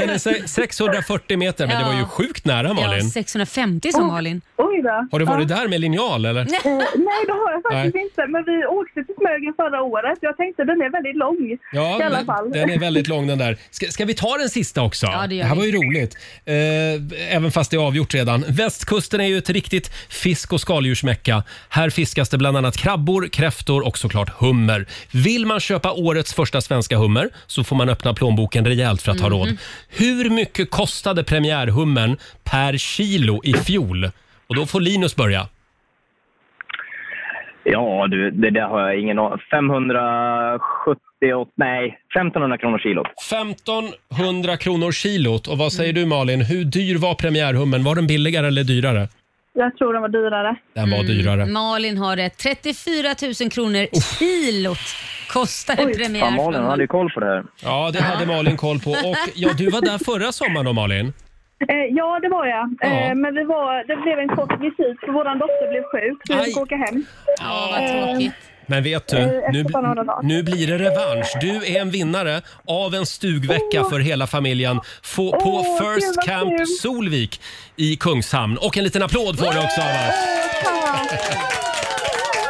Den är se- 640 meter, men det var ju
Ja.
sjukt nära
Ja,
Malin.
650 som Malin.
Oj då.
Har du varit
ja.
där med linjal
Mm.
eller?
Eh, nej, det har jag faktiskt
Nej.
inte. Men vi åkte till Smögen förra året. Jag tänkte den är väldigt lång.
Ja,
I alla
men
fall.
den är väldigt lång den där. Ska, ska vi ta den sista också?
Ja, det gör
här
vi.
var ju roligt. Eh, även fast det är avgjort redan. Västkusten är ju ett riktigt fisk och skaldjursmäcka. Här fiskas det bland annat krabbor, kräftor och såklart hummer. Vill man köpa årets första svenska hummer så får man öppna plånboken rejält för att ha
Mhm.
råd. Hur mycket kostade premiärhummern per kilo i fjol? Och då får Linus börja.
Ja, du, det där har jag ingen aning 570, nej, 1500 kronor kilot.
1500 kronor kilot. Och vad säger du Malin, hur dyr var premiärhummen? Var den billigare eller dyrare?
Jag tror den var dyrare.
Den
Mm.
var dyrare.
Malin har rätt. 34 000 kronor kilot kostar en
Fan, Malin hon
premiär.
hade ju koll på det här.
Ja, det hade Malin koll på. Och ja, du var där förra sommaren då Malin.
Eh, ja, det var jag.
Ja.
Eh, men vi var, det blev en kort visit för vår dotter blev sjuk. Vi fick åka hem.
Ja,
vad tråkigt.
Men vet
Eh,
du, nu, nu blir det revansch. Du är en vinnare av en stugvecka för hela familjen få, på
Åh, gud,
First
vad
Camp
kul.
Solvik i Kungshamn. Och en liten applåd får du också av oss.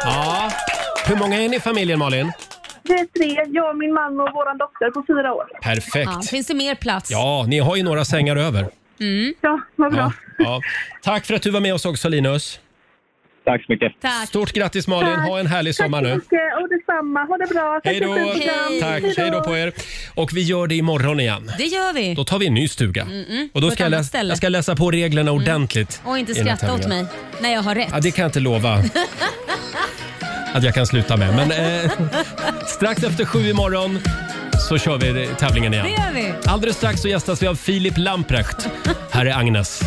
Ja. Hur många är ni i familjen Malin?
Vi är tre, jag, min man och vår dotter på fyra år.
Ja,
Perfekt.
finns det mer plats?
Ja, ni har ju några sängar över.
Ja, vad bra.
Ja, ja. Tack för att du var med oss också Linus.
Tack så mycket.
Tack.
Stort grattis Malin,
Tack.
ha en härlig sommar nu.
Tack och detsamma. Ha det bra.
Hej då! Tack, hej då på er. Och vi gör det imorgon igen.
Det gör vi.
Då tar vi en ny stuga.
Mm-mm,
Och då
Mm, på ett
ska jag,
annat
läsa,
ställe. Mm.
jag ska läsa på reglerna ordentligt.
Och inte
i den här
skratta åt
tävlingen.
mig när jag har rätt.
Ja, det kan jag inte
(laughs)
lova att jag kan sluta med. Men eh, strax efter sju imorgon så kör vi tävlingen igen.
Det gör vi.
Alldeles strax så gästas vi av Filip Lamprecht. Här är Agnes.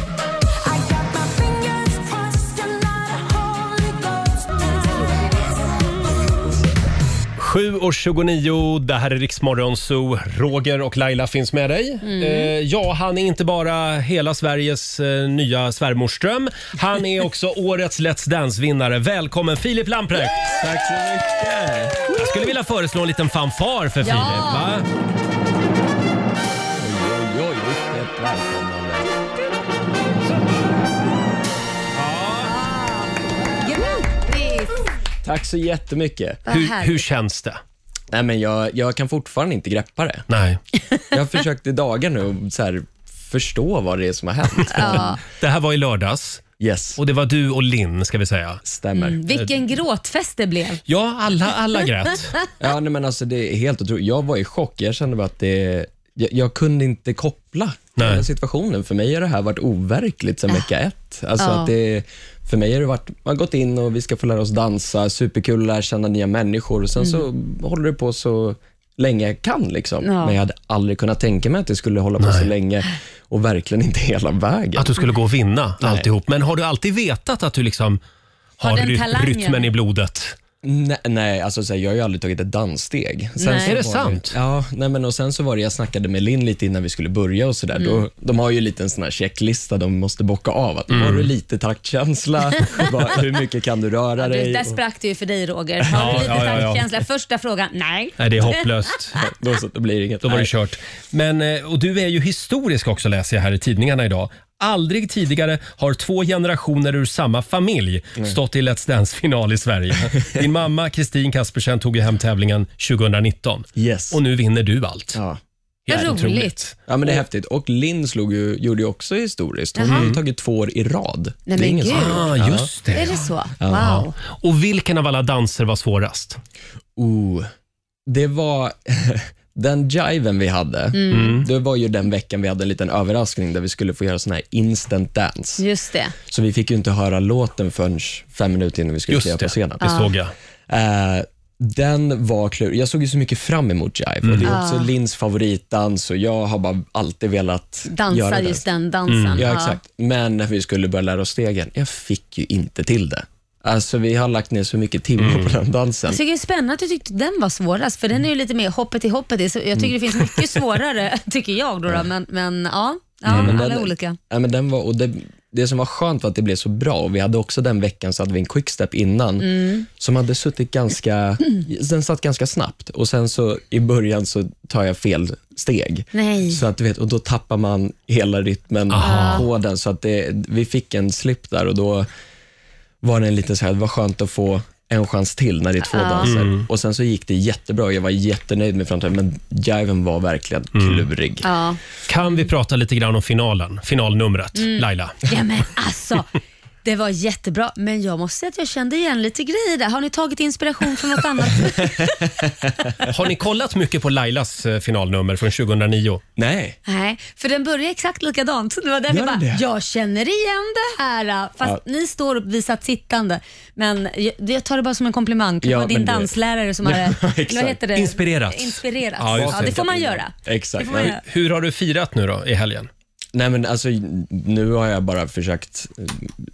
Sju och 29, det här är Riksmorgon Zoo. Roger och Laila finns med dig.
Mm.
Eh, ja, han är inte bara hela Sveriges eh, nya svärmorsdröm. Han är också
(laughs)
årets Let's Dance-vinnare. Välkommen Filip Lamprecht! Tack så mycket! Jag skulle vilja föreslå en liten fanfar för Filip. Va?
Oj, oj, vilket välkomnande.
Grattis!
Tack så jättemycket.
Vad Hur- härligt. hur
känns det?
Nej, men jag, jag kan fortfarande inte greppa det.
Nej.
Jag har försökt i dagar nu att så här, förstå vad det är som har hänt.
Ja.
Det här var i lördags.
Yes.
Och det var du och Linn, ska vi säga.
Stämmer.
Mm, vilken gråtfest det blev.
Ja, alla, alla
(laughs)
grät.
ja, nej, men alltså, det är helt otroligt. Jag var i chock. Jag kände bara att det, jag, jag kunde inte koppla den här situationen. För mig har det här varit overkligt sedan vecka ett. Alltså,
Ja.
att det, för mig har det varit, man har gått in och vi ska få lära oss dansa, superkul, lära känna nya människor och sen så håller det på så länge jag kan. Liksom.
Ja.
Men jag hade aldrig kunnat tänka mig att det skulle hålla på så länge och verkligen inte hela vägen.
Att du skulle gå och vinna alltihop. Men har du alltid vetat att du liksom
Har
har
den
ry-
talangen?
rytmen i blodet?
Nej, nej alltså, så här, jag har ju aldrig tagit ett danssteg.
Nej.
så
Är det
var
sant?
ja, nej, men och sen så var det, jag snackade med Linn lite innan vi skulle börja och sådär.
Mm.
Då- De har ju lite en sån här checklista de måste bocka av. Att, Har du lite taktkänsla? Vad- hur mycket kan du röra
Du,
dig?
där sprack det ju för dig Roger. Har
Ja,
du lite
ja, ja, ja.
taktkänsla? Första frågan, nej.
Nej, det är hopplöst.
då, så, blir det inget.
Då var det
Nej.
kört. Men, eh, och du är ju historisk också läser jag här i tidningarna idag. Aldrig tidigare har två generationer ur samma familj stått i Let's Dance-final
(laughs)
i Sverige. Din mamma Kristin Kaspersen tog ju hem tävlingen 2019.
Yes.
Och nu vinner du allt.
Ja.
Helt Vad roligt. otroligt.
Ja, men det är häftigt. Och Linn slog ju, gjorde ju också historiskt. Hon
Jaha.
har ju tagit två år i rad.
Nej,
det är
men
ingen som
gud.
har gjort.
Ah, just det.
Är det så?
Ja.
Wow.
Och vilken av alla danser var svårast?
Oh, det var (laughs) den jiven vi hade.
Mm.
Det var ju den veckan vi hade en liten överraskning där vi skulle få göra sån här instant dance.
Just det.
Så vi fick ju inte höra låten förrän fem minuter innan vi skulle
Just
kliva på
det,
scenen.
det Ja. såg jag.
Eh, den var klurig. Jag såg ju så mycket fram emot jive. Och det är också
Ja.
Lins favoritdans och jag har bara alltid velat göra
Dansa
den.
just Ah. den dansen.
Mm.
Ja, exakt. Men när vi skulle börja lära oss stegen, jag fick ju inte till det. Alltså Vi har lagt ner så mycket timmar på den dansen.
Jag tycker det är spännande att du tyckte den var svårast, för den är ju lite mer hoppet i hoppet. Det är så- Jag tycker det finns mycket svårare, (laughs) tycker jag. Då då. Men, men ja, ja
Nej, men
alla
den-
olika.
Ja, men den var, och det, det som var skönt var att det blev så bra. Och vi hade också den veckan så hade vi en quickstep innan
Mm.
som hade suttit ganska, den satt ganska snabbt. Och sen så i början så tar jag fel steg.
Nej.
Så att du vet, och då tappar man hela rytmen
Aha.
på den. Så att det, vi fick en slip där och då var det en liten så här, det var skönt att få en chans till när det är två
Ja.
danser.
Mm.
Och sen så gick det jättebra och jag var jättenöjd med framtiden. Men jiven var verkligen klurig.
Ja.
Kan vi prata lite grann om finalen? Finalnumret,
Mm.
Laila?
Ja men alltså, Det var jättebra, men jag måste säga att jag kände igen lite grejer där. Har ni tagit inspiration från något annat?
Har ni kollat mycket på Lailas eh, finalnummer från 2009?
Nej.
Nej, för den börjar exakt likadant. Det var därför
Gör
jag bara,
den det?
jag känner igen det här. Fast ni står uppvisat sittande. Men jag, jag tar det bara som en komplimang. Kanske
Ja,
var din
men det- (laughs)
danslärare som
Ja,
hade
exakt.
vad heter det?
Inspirerats.
Inspirerats.
Ja,
Ja,
just
det
det.
får man göra. Det
Exakt.
får man göra.
Hur har du firat nu då i helgen?
Nej men alltså nu har jag bara försökt eh,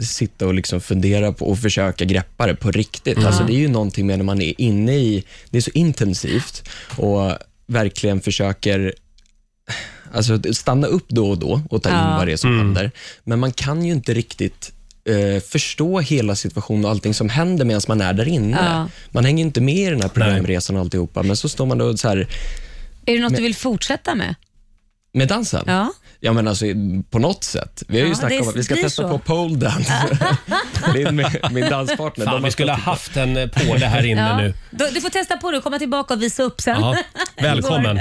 sitta och liksom fundera på och försöka greppa det på riktigt.
Mm.
Alltså det är ju någonting med när man är inne i, det är så intensivt och verkligen försöker alltså stanna upp då och då och ta in
Ja.
vad det är som händer. Men man kan ju inte riktigt eh, förstå hela situationen och allting som händer medan man är där inne.
Ja.
Man hänger inte med i den här programresan och alltihopa, men så står man då och så här,
Är det något
Men-
du vill fortsätta med?
med dansen?
Ja.
Ja men alltså på något sätt. Vi har ju
Ja,
snackat
det
om att vi ska
blir
testa
så.
på pole
(laughs)
dance. det är min, min danspartner.
Fan, vi skulle ha haft en eh, påle här inne
Ja.
nu.
Du, du får testa på det och komma tillbaka och visa upp sen. (laughs)
Ja, välkommen.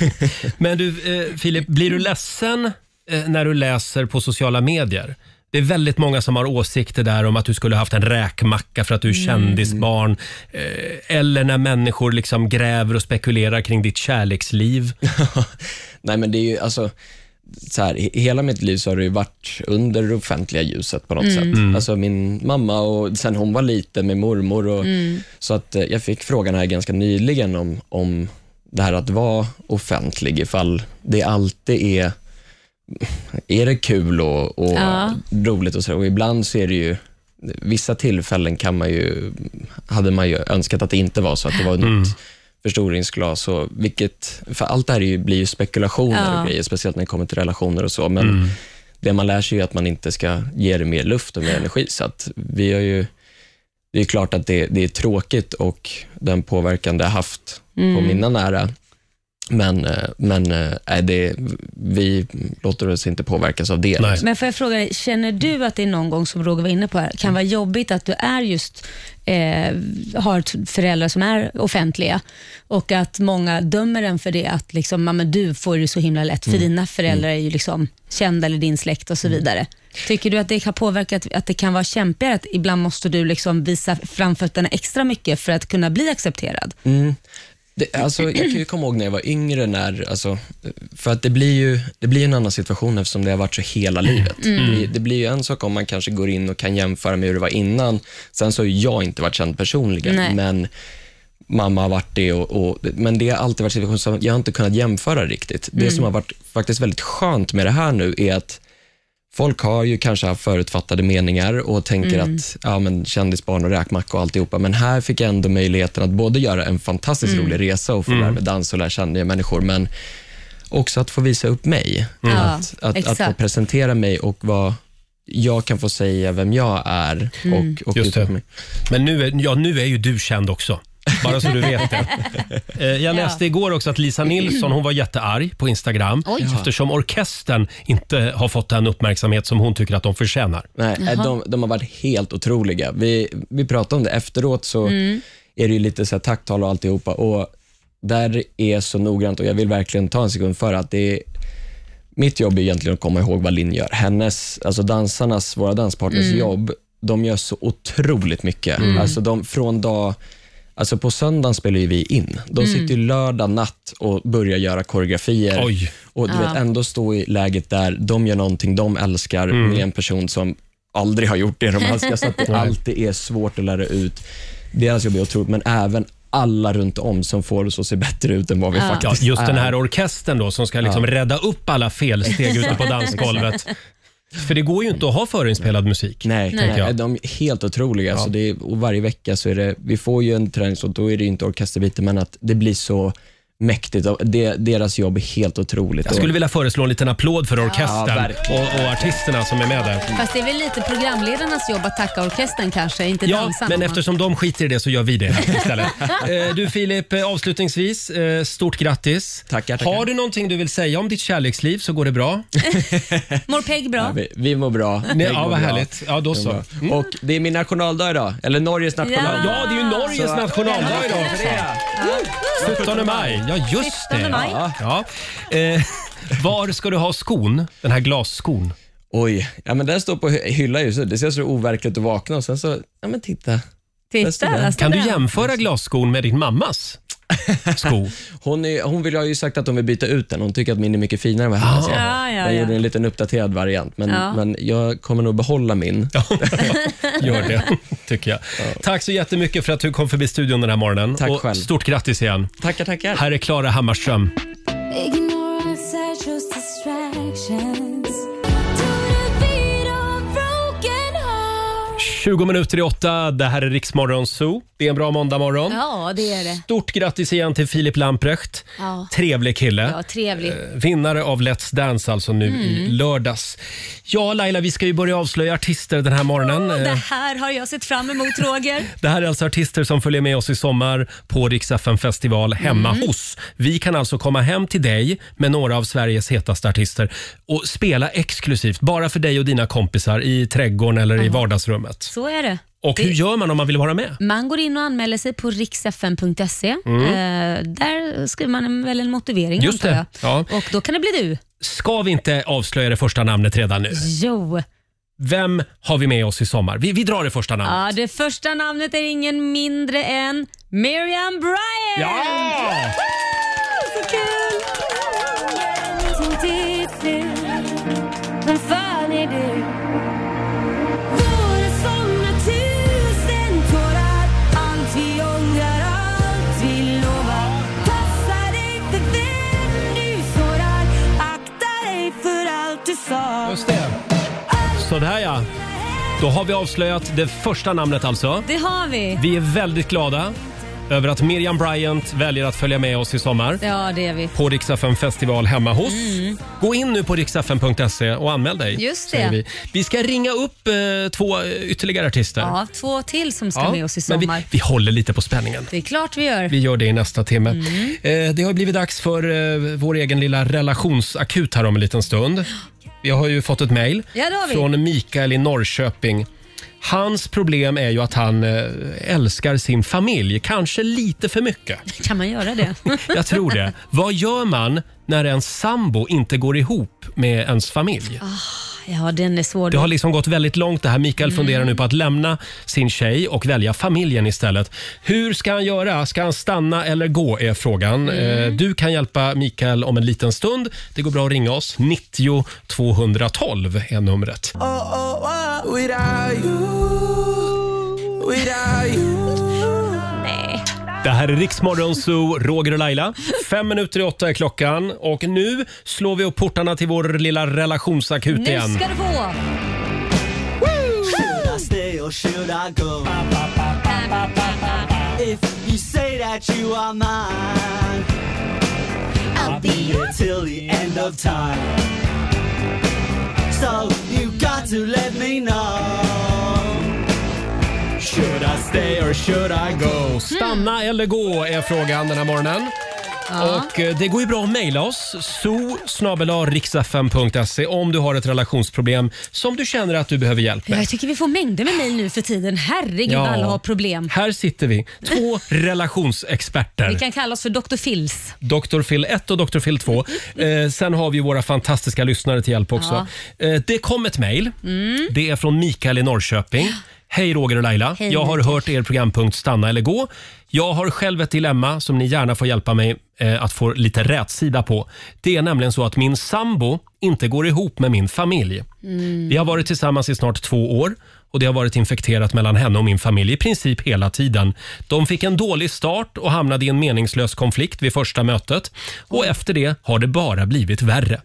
(laughs) Men du, eh, Filip, blir du ledsen eh, när du läser på sociala medier? Det är väldigt många som har åsikter där om att du skulle haft en räkmacka för att du är
Mm.
kändisbarn. Eh, Eller när människor liksom gräver och spekulerar kring ditt kärleksliv.
Nej men det är ju alltså, så här, i- hela mitt liv så har det ju varit under det offentliga ljuset på något
Mm.
sätt.
Mm.
Alltså min mamma och sen hon var liten med mormor och
Mm.
så att eh, jag fick frågan här ganska nyligen om, om det här att vara offentlig ifall det alltid är är det kul och, och
Ja.
roligt och så och ibland så är det ju vissa tillfällen kan man ju hade man ju önskat att det inte var så att det var
Mm.
något förstoringsglas och vilket, för allt det här är ju, blir ju spekulationer
Ja.
och grejer, speciellt när det kommer till relationer och så, men
Mm.
det man lär sig är ju att man inte ska ge det mer luft och mer energi, så att vi har ju det är klart att det, det är tråkigt och den påverkan det har haft på
Mm.
mina nära, men, eh, men eh, nej, det, vi låter oss inte påverkas av det. liksom.
Men får jag fråga dig, känner du att det är någon gång, som Roger var inne på, här, kan vara jobbigt att du är just, eh, har t- föräldrar som är offentliga och att många dömer en för det, att liksom, "Ja, men du får det så himla lätt, för
Mm.
dina föräldrar är ju liksom kända eller din släkt och så vidare. Tycker du att det har påverkat, att det kan vara kämpigare, att ibland måste du liksom visa framfötterna extra mycket för att kunna bli accepterad?
Mm. Det, alltså, jag kan ju komma ihåg när jag var yngre, när, alltså, för att det blir ju det blir en annan situation eftersom det har varit så hela livet.
Mm.
Det, det blir ju en sak om man kanske går in och kan jämföra med hur det var innan. Sen så har ju jag inte varit känd personligen,
Nej.
men mamma har varit det. Och, och, men det har alltid varit situationer som jag har inte kunnat jämföra riktigt. Det
Mm.
som har varit faktiskt väldigt skönt med det här nu är att Folk har ju kanske haft förutfattade meningar och tänker
Mm.
att ja, men kändisbarn och räkmacka och alltihopa, men här fick jag ändå möjligheten att både göra en fantastiskt
Mm.
rolig resa och få
Mm.
lära mig dans och lära känna nya människor, men också att få visa upp mig.
Mm. Ja,
Att, att, att få
exakt.
presentera mig och vad jag kan få säga vem jag är.
Mm.
Och, och
Just det.
Mig.
Men nu är, ja, nu är ju du känd också. Bara så du vet det. Eh, Jag läste igår också att Lisa Nilsson hon var jättearg på Instagram
Oj.
eftersom orkestern inte har fått den uppmärksamhet som hon tycker att de förtjänar.
Nej,
Jaha.
de, de har varit helt otroliga. Vi, vi pratade om det efteråt, så
Mm.
är det ju lite så här takttal och alltihopa. Och där är så noggrant och jag vill verkligen ta en sekund för att det är mitt jobb är egentligen att komma ihåg vad Linn gör. Hennes, alltså dansarnas, våra danspartners
Mm.
jobb, de gör så otroligt mycket.
Mm.
Alltså de, från dag, alltså på söndagen spelar ju vi in. De
Mm.
sitter ju lördag natt och börjar göra koreografier.
Oj.
Och du
Ja.
vet, ändå stå i läget där de gör någonting de älskar
Mm.
med en person som aldrig har gjort det de älskar, så att
(laughs)
det
Nej.
alltid är svårt att lära ut. Deras jobb är otroligt, men även alla runt om som får oss att se bättre ut än vad vi
Ja.
faktiskt
Ja, just
är.
den här orkestern då som ska liksom
Ja.
rädda upp alla felsteg ute
(laughs)
på dansgolvet. För det går ju inte att ha förinspelad musik.
Nej,
tänker
nej,
jag.
de är helt otroliga.
Ja.
Så det är, och varje vecka så är det, vi får ju en träning, så då är det ju inte orkesterbiten, men att det blir så mäktigt. Och Det, deras jobb är helt otroligt.
Jag skulle vilja föreslå en liten applåd för
Ja,
orkestern
verkligen.
och, och artisterna som är med där.
Fast det är väl lite programledarnas jobb att tacka orkestern kanske, inte
Ja,
dansarna.
men eftersom de skiter i det så gör vi det istället. Eh, du Filip, eh, avslutningsvis, eh, stort grattis.
Tackar,
Har du någonting du vill säga om ditt kärleksliv så går det bra.
Mår Peg bra?
vi, vi mår bra.
Nej,
Jag
ja,
mår
vad
bra.
härligt. Ja, då
Jag
så.
mår bra. Och det är min nationaldag idag, eller Norges nationaldag.
Ja, det är ju Norges
Så-
nationaldag idag.
För det.
17 maj, ja just det.
17 maj.
Ja. Ja. Eh, var ska du ha skon? Den här glasskon.
Oj, ja, men den står på hy- hylla just nu. Det ser så overkligt att vakna och sen så, ja men titta.
Titta, där står
Kan du
den.
jämföra glasskon med din mammas sko?
hon, är, hon vill, har ju sagt att hon vill byta ut den. Hon tycker att min är mycket finare än vad hennes är.
Ah. Ja, ja,
jag
ja.
gjorde en liten uppdaterad variant, men,
Ja.
men jag kommer nog behålla min.
Gör det, tycker jag. Tack så jättemycket för att du kom förbi studion den här morgonen.
Tack
och
själv.
Stort grattis igen.
Tackar, tackar.
Här är Klara Hammarström.
Ignorance, I chose distractions. To defeat a broken heart.
20 minuter i åtta. Det här är Riksmorgon Zoo. Det är en bra måndagmorgon.
Ja, det är det.
Stort grattis igen till Filip Lamprecht.
Ja.
Trevlig kille.
Ja, Mm. trevligt.
Eh, Vinnare av Let's Dance alltså nu i lördags. Ja, Laila, vi ska ju börja avslöja artister den här morgonen.
Det
Eh,
här har jag sett fram emot, Roger.
(laughs) Det här är alltså artister som följer med oss i sommar på Rix FM festival hemma
Mm.
hos. Vi kan alltså komma hem till dig med några av Sveriges hetaste artister och spela exklusivt, bara för dig och dina kompisar i trädgården eller i vardagsrummet.
Så är det.
Och hur gör man om man vill vara med?
Man går in och anmäler sig på riksfn.se.
Mm.
Eh, där skriver man en, väl en motivering,
Just
antar jag.
det. Ja.
Och då kan det bli du.
Ska vi inte avslöja det första namnet redan nu?
Jo.
Vem har vi med oss i sommar? Vi, vi drar det första namnet.
Ja, det första namnet är ingen mindre än Miriam Bryant!
Ja!
Så kul!
Som tid till. Vem fan är du? Vore som tusen tårar. Allt vi ångrar, allt vi lovar. Passa dig för vem du sårar. Akta dig för allt du sa.
Just det. Sådär ja. Då har vi avslöjat det första namnet alltså.
Det har vi.
Vi är väldigt glada över att Miriam Bryant väljer att följa med oss i sommar
Ja, det är vi.
på Riksdagen festival hemma hos.
Mm.
Gå in nu på riksdagen.se och anmäl dig.
Just
säger
det.
Vi. vi ska ringa upp eh, två eh, ytterligare artister.
Ja, två till som ska
Ja,
med oss i
men
sommar.
Vi, vi håller lite på spänningen.
Det är klart vi gör.
Vi gör det i nästa timme.
Mm.
Eh, det har blivit dags för eh, vår egen lilla relationsakut här om en liten stund. Vi har ju fått ett mejl
Ja, det har vi.
från Mikael i Norrköping. Hans problem är ju att han eh, älskar sin familj, kanske lite för mycket.
Kan man göra det?
Jag tror
(laughs)
det. Vad gör man när en sambo inte går ihop med ens familj?
Ja, den är svår.
Det har liksom gått väldigt långt det här. Mikael
Mm.
funderar nu på att lämna sin tjej och välja familjen istället. Hur ska han göra? Ska han stanna eller gå är frågan.
Mm.
Eh, Du kan hjälpa Mikael om en liten stund. Det går bra att ringa oss. 90 212 är numret.
Oh, oh, oh, without you, without you.
Nej.
Det här är Riksmorgon Zoo, Roger och Laila. Fem minuter i åtta är klockan och nu slår vi upp portarna till vår lilla relationsakut
Nu
igen.
ska du få!
Should I stay or should I go? If you say that you are mine, I'll be here till the end of time. So you got to let me know.
Should I stay or should I go? Stanna eller gå är frågan den här morgonen. Och eh, Det går ju bra att mejla oss, so om du har ett relationsproblem som du känner att du behöver hjälp med.
Jag tycker vi får mängder med mejl nu för tiden. Herregud,
Ja.
alla har problem.
Här sitter vi,
(laughs)
två relationsexperter.
Vi kan kalla oss för Dr. Phils.
Dr. Phil 1 och Dr. Phil 2. Eh, sen har vi ju våra fantastiska lyssnare till hjälp också. Eh, det kom ett mejl.
Mm.
Det är från Mikael i Norrköping. Hej Roger och Laila.
Hej,
jag har hört er programpunkt Stanna eller gå. Jag har själv ett dilemma som ni gärna får hjälpa mig eh, att få lite rätsida på. Det är nämligen så att min sambo inte går ihop med min familj. Vi har varit tillsammans i snart två år och det har varit infekterat mellan henne och min familj i princip hela tiden. De fick en dålig start och hamnade i en meningslös konflikt vid första mötet och efter det har det bara blivit värre.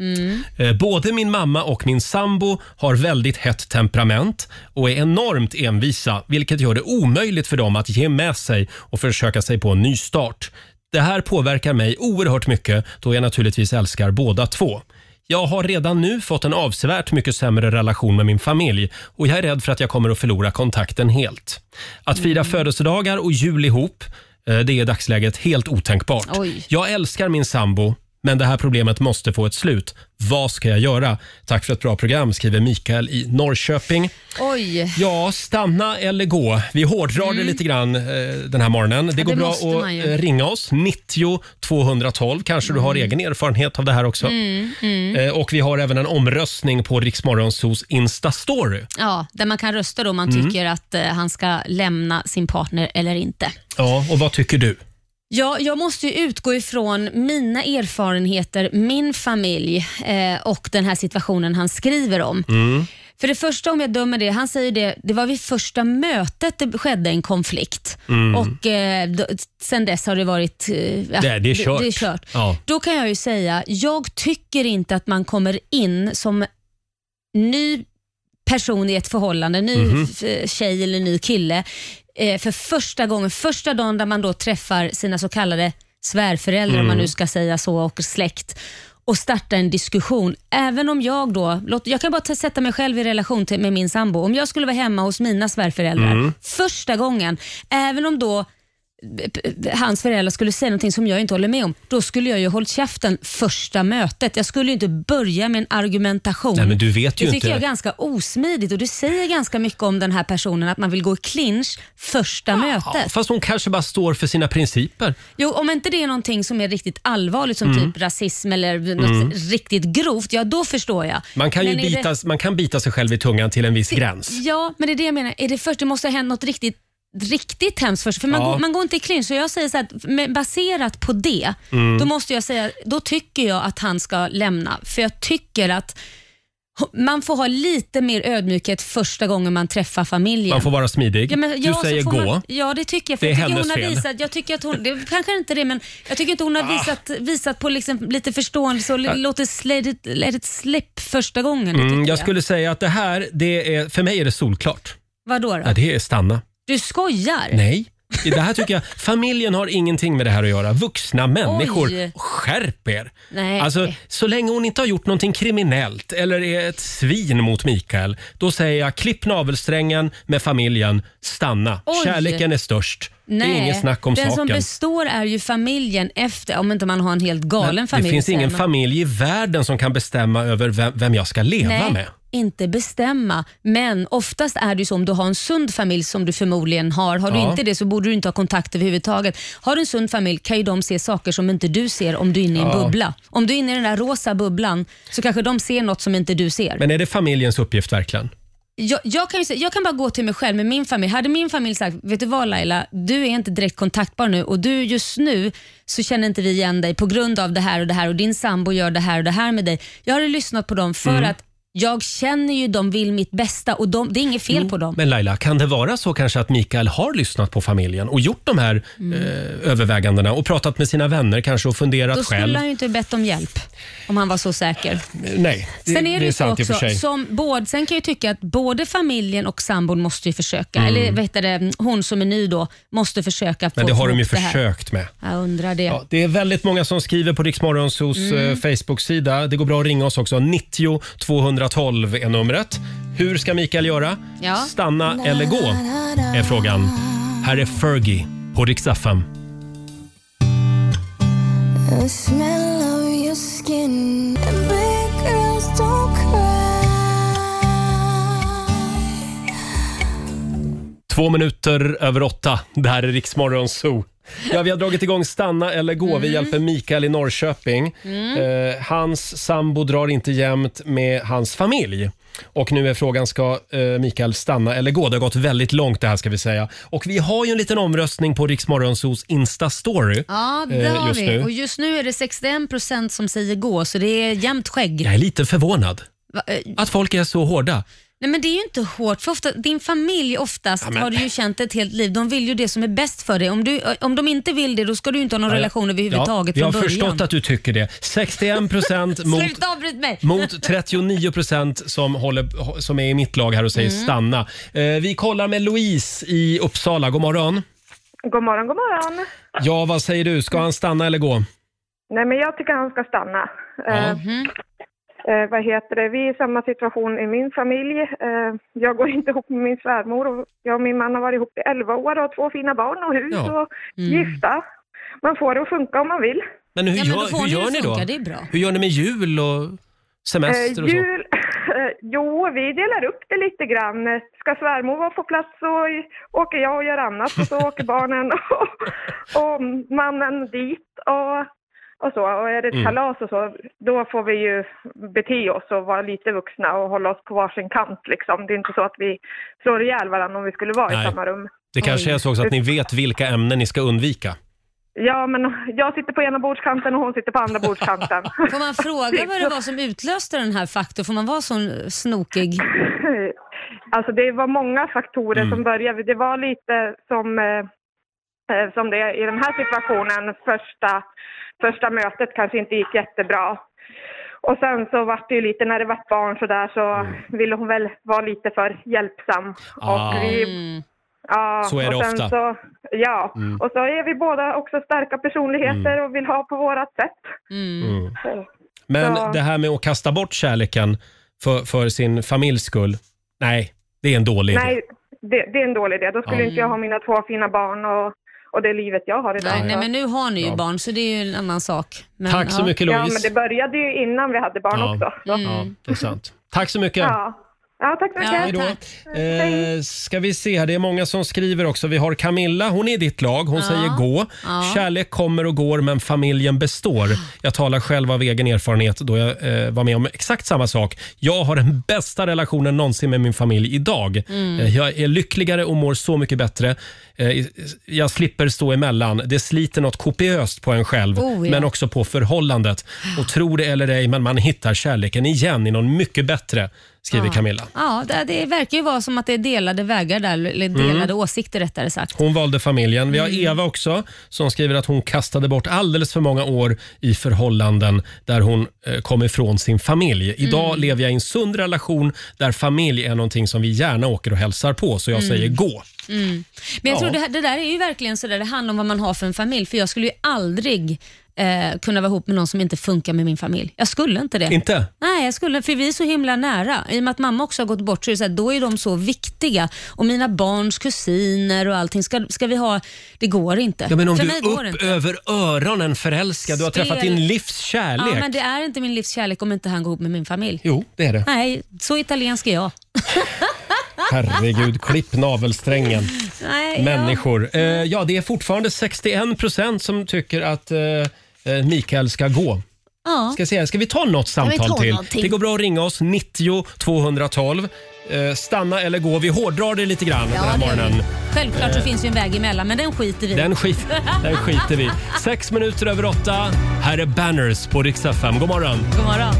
Mm.
Eh, Både min mamma och min sambo har väldigt hett temperament och är enormt envisa, vilket gör det omöjligt för dem att ge med sig och försöka sig på en ny start. Det här påverkar mig oerhört mycket då jag naturligtvis älskar båda två. Jag har redan nu fått en avsevärt mycket sämre relation med min familj och jag är rädd för att jag kommer att förlora kontakten helt. Att fira födelsedagar och jul ihop, eh, det är i dagsläget helt otänkbart.
Oj.
Jag älskar min sambo men det här problemet måste få ett slut. Vad ska jag göra? Tack för ett bra program, skriver Mikael i Norrköping.
Oj.
Ja, stanna eller gå. Vi hårdrar det lite grann eh, den här morgonen. Det
Mm. Ja,
går
det
bra
måste man
att
ju.
eh, ringa oss, 90 212. Kanske du har egen erfarenhet av det här också.
Mm, mm.
Eh, Och vi har även en omröstning på Riksmorgonsos Insta-story.
Ja, där man kan rösta då om man
Mm.
tycker att eh, han ska lämna sin partner eller inte.
Ja, och vad tycker du?
Ja, jag måste ju utgå ifrån mina erfarenheter, min familj eh, och den här situationen han skriver om.
Mm.
För det första om jag dömer det, han säger det, det var vid första mötet det skedde en konflikt.
Mm.
Och eh, då, sen dess har det varit... Eh, ja,
Det- det är kört.
Det, är kört.
Ja.
Då kan jag ju säga, jag tycker inte att man kommer in som ny person i ett förhållande, ny
Mhm.
f- eh, tjej eller ny kille, eh, för första gången, första dagen där man då träffar sina så kallade svärföräldrar, om man
Mm.
nu ska säga så, och släkt och starta en diskussion. Även om jag då, låt, jag kan bara ta- sätta mig själv i relation till, med min sambo. Om jag skulle vara hemma hos mina svärföräldrar
Mm.
första gången, även om då b- b- hans föräldrar skulle säga någonting som jag inte håller med om, då skulle jag ju hållit käften första mötet. Jag skulle ju inte börja med en argumentation.
Nej, men du vet ju
det
inte.
tycker jag är ganska osmidigt och det säger ganska mycket om den här personen att man vill gå i clinch första
Ja,
mötet.
fast hon kanske bara står för sina principer.
Jo, om inte det är någonting som är riktigt allvarligt som
Mm.
typ rasism eller
Mm.
något riktigt grovt, ja då förstår jag.
Man kan, ju
Men är
bita, man kan bita sig själv i tungan till en viss gräns.
Ja, men det är det jag menar. Är det först, det måste ha hänt något riktigt riktigt hemskt först, för man,
Ja.
går, man går inte i clinch. Så jag säger så här, att med- baserat på det,
Mm.
då måste jag säga, då tycker jag att han ska lämna. För jag tycker att man får ha lite mer ödmjukhet första gången man träffar familjen.
Man får vara smidig.
Ja, men, ja, så
du säger
får
gå.
Man, ja, det tycker jag. För
Det är
jag tycker
hennes
hon har
fel. Ah.
visat, jag tycker att hon, det kanske inte är det, men jag tycker inte hon har visat, visat på liksom lite förståelse och
Ja.
li- låter let it, let it slip första gången. det
Mm,
tycker
jag skulle säga att det här, det är, för mig är det solklart.
Vadå då?
Ja, det är stanna.
Du skojar?
Nej. Det här tycker jag, familjen har ingenting med det här att göra. Vuxna människor,
Oj.
skärp er!
Nej.
Alltså, så länge hon inte har gjort någonting kriminellt eller är ett svin mot Mikael, då säger jag klipp navelsträngen med familjen, stanna.
Oj.
Kärleken är störst. det är
Nej,
inget snack om
den som
saken.
består är ju familjen efter, om inte man har en helt galen
Men
familj.
det finns ingen
sen.
familj i världen som kan bestämma över vem, vem jag ska leva
Nej,
med.
inte bestämma. Men oftast är det ju så om du har en sund familj som du förmodligen har. Har du
Ja.
inte det så borde du inte ha kontakt överhuvudtaget. Har du en sund familj kan ju de se saker som inte du ser om du är inne i en
Ja.
bubbla. Om du är inne i den där rosa bubblan så kanske de ser något som inte du ser.
Men är det familjens uppgift verkligen?
Jag, jag, kan ju, säga- jag kan bara gå till mig själv med min familj. Hade min familj sagt, vet du vad Laila, du är inte direkt kontaktbar nu och du just nu så känner inte vi igen dig på grund av det här och det här och din sambo gör det här och det här med dig. Jag har ju lyssnat på dem för
Mm.
att jag känner ju de vill mitt bästa och de, det är inget fel på dem.
Mm. Men Laila, kan det vara så kanske att Mikael har lyssnat på familjen och gjort de här eh, övervägandena och pratat med sina vänner kanske och funderat
Mm. Då skulle
själv?
han ju inte bett om hjälp om han var så säker.
Nej, det,
Sen är det,
är
ju så
sant i och
också,
för sig.
som både, sen kan jag ju tycka att både familjen och sambon måste ju försöka,
Mm.
eller vad heter det, hon som är ny då, måste försöka
Men
få
det har de ju
ihop här.
försökt med.
Jag undrar det.
Ja, det är väldigt många som skriver på Riksmorgonsos
Mm.
mm. Facebook-sida. Det går bra att ringa oss också. 90 212 är numret. Hur ska Mikael göra?
Ja.
Stanna eller gå? Är frågan. Här är Fergie på Riksaffan.
The smell of your skin and big girls don't cry.
Två minuter över åtta. Det här är Riksmorgon Zoo. Ja, vi har dragit igång Stanna eller gå.
Mm.
Vi hjälper Mikael i Norrköping.
Mm.
Eh, hans sambo drar inte jämnt med hans familj. Och nu är frågan, ska eh, Mikael stanna eller gå? Det har gått väldigt långt det här ska vi säga. Och vi har ju en liten omröstning på Riksmorgonsos Insta-story.
Ja, det
eh,
har
just
vi.
nu.
Och just nu är det 61% som säger gå, så det är jämnt skägg.
Jag är lite förvånad
Va, eh,
att folk är så hårda.
Nej, men det är ju inte hårt, för ofta, din familj oftast
Ja, men-
har du ju känt ett helt liv. De vill ju det som är bäst för dig. Om, du, eh, om de inte vill det, då ska du ju inte ha någon relation överhuvudtaget
ja, Jag
från
har
början.
förstått att du tycker det. 61 procent mot
Sluta avbryt mig!
Mot 39 procent som, håller, som är i mitt lag här och säger
Mm.
stanna. Eh, vi kollar med Louise i Uppsala. God morgon.
God morgon, god morgon.
Ja, vad säger du? Ska han stanna eller gå?
Nej, men jag tycker han ska stanna. Eh, eh, vad heter det? Vi är i samma situation i min familj. Eh, jag går (laughs) inte ihop med min svärmor. Och jag och min man har varit ihop i 11 år och har två fina barn och hus
Ja.
och gifta. Man får det att funka om man vill.
Men hur,
Ja, men då
gör, hur
får ni
gör
det
ni
funkar,
då?
det är bra.
Hur gör ni med jul och semester
Eh,
och så?
jul, (laughs) eh, jo, vi delar upp det lite grann. Eh, Ska svärmor vara på plats så i- åker jag och gör annat och så åker barnen (laughs) och, och mannen dit och, och så. Och är det ett
Mm.
kalas och så, då får vi ju bete oss och vara lite vuxna och hålla oss på varsin kant liksom. Det är inte så att vi slår ihjäl varandra om vi skulle vara
Nej.
i samma rum.
Det kanske är så också att ni vet vilka ämnen ni ska undvika.
Ja, men jag sitter på ena bordskanten och hon sitter på andra bordskanten. (laughs)
Får man fråga vad det var som utlöste den här faktorn? Får man vara så snokig?
(coughs) Alltså det var många faktorer
Mm.
som började. Det var lite som, eh, eh, som det är i den här situationen. Första, första mötet kanske inte gick jättebra. Och sen så var det ju lite, när det var barn så där så ville hon väl vara lite för hjälpsam.
Mm. Ah.
Och vi,
Mm,
ja,
Så är det
och sen
ofta.
Så, ja,
Mm.
och så är vi båda också starka personligheter och vill ha på vårat sätt.
Mm.
Så.
Men
Ja.
det här med att kasta bort kärleken för, för sin familjs skull. Nej, det är en dålig idé.
Nej, det, det är en dålig idé. Då skulle
Ja.
inte jag ha mina två fina barn och, och det livet jag har idag.
Nej, nej,
Så-
men nu har ni ju
Ja.
barn så det är ju en annan sak. Men,
Tack så mycket,
Ja,
Louise.
men det började ju innan vi hade barn också. Mm.
Ja.
Mm.
ja, det är sant. Tack så mycket.
Ja. ja, tack så mycket.
Hej då. Eh, ska vi se här, det är många som skriver också. Vi har Camilla, hon är i ditt lag. Hon
Ja.
säger gå.
Ja.
Kärlek kommer och går men familjen består. Jag talar själv av egen erfarenhet då jag eh, var med om exakt samma sak. Jag har den bästa relationen någonsin med min familj idag.
Mm.
Eh, jag är lyckligare och mår så mycket bättre. Eh, jag slipper stå emellan. Det sliter något kopiöst på en själv
Oh, ja.
men också på förhållandet. Och tro det eller ej, men man hittar kärleken igen i någon mycket bättre, skriver
Ja.
Camilla.
Ja, det, det verkar ju vara som att det är delade vägar där, eller delade
Mm.
åsikter rättare sagt.
Hon valde familjen. Vi har
Mm.
Eva också som skriver att hon kastade bort alldeles för många år i förhållanden där hon eh, kom ifrån sin familj. Idag
Mm.
lever jag i en sund relation där familj är någonting som vi gärna åker och hälsar på, så jag
Mm.
säger gå.
Mm. Men jag
Ja.
tror det, här- det där är ju verkligen sådär, det handlar om vad man har för en familj. För jag skulle ju aldrig eh, kunna vara ihop med någon som inte funkar med min familj. Jag skulle inte det.
Inte?
Nej, jag skulle, för vi är så himla nära. I och med att mamma också har gått bort så är det så här, då är de så viktiga. Och mina barns kusiner och allting, ska, ska vi ha... Det går inte.
Ja, men om
för
du
mig
är
går det inte.
upp över öronen förälskad, du har
Spel-
träffat din livs kärlek.
Ja, men det är inte min livs kärlek om inte han går ihop med min familj.
Jo, det
(laughs)
är det.
Nej, så italiensk är jag.
Herregud, klipp navelsträngen.
Nej,
Människor. Eh, ja, det är fortfarande 61 procent som tycker att eh, eh, Mikael ska gå.
Ja.
Ska, se, ska vi ta något
Ja, vi tar
samtal till?
någonting.
Det går bra att ringa oss, 90 212. Eh, stanna eller gå. Vi hårdrar det lite grann den här
det gör vi.
morgonen.
Självklart så
Eh.
finns ju en väg emellan, men den skiter vi i.
Den, skit, den skiter vi i. Sex minuter över åtta. Här är Banners på riksdag 5. God morgon!
God morgon.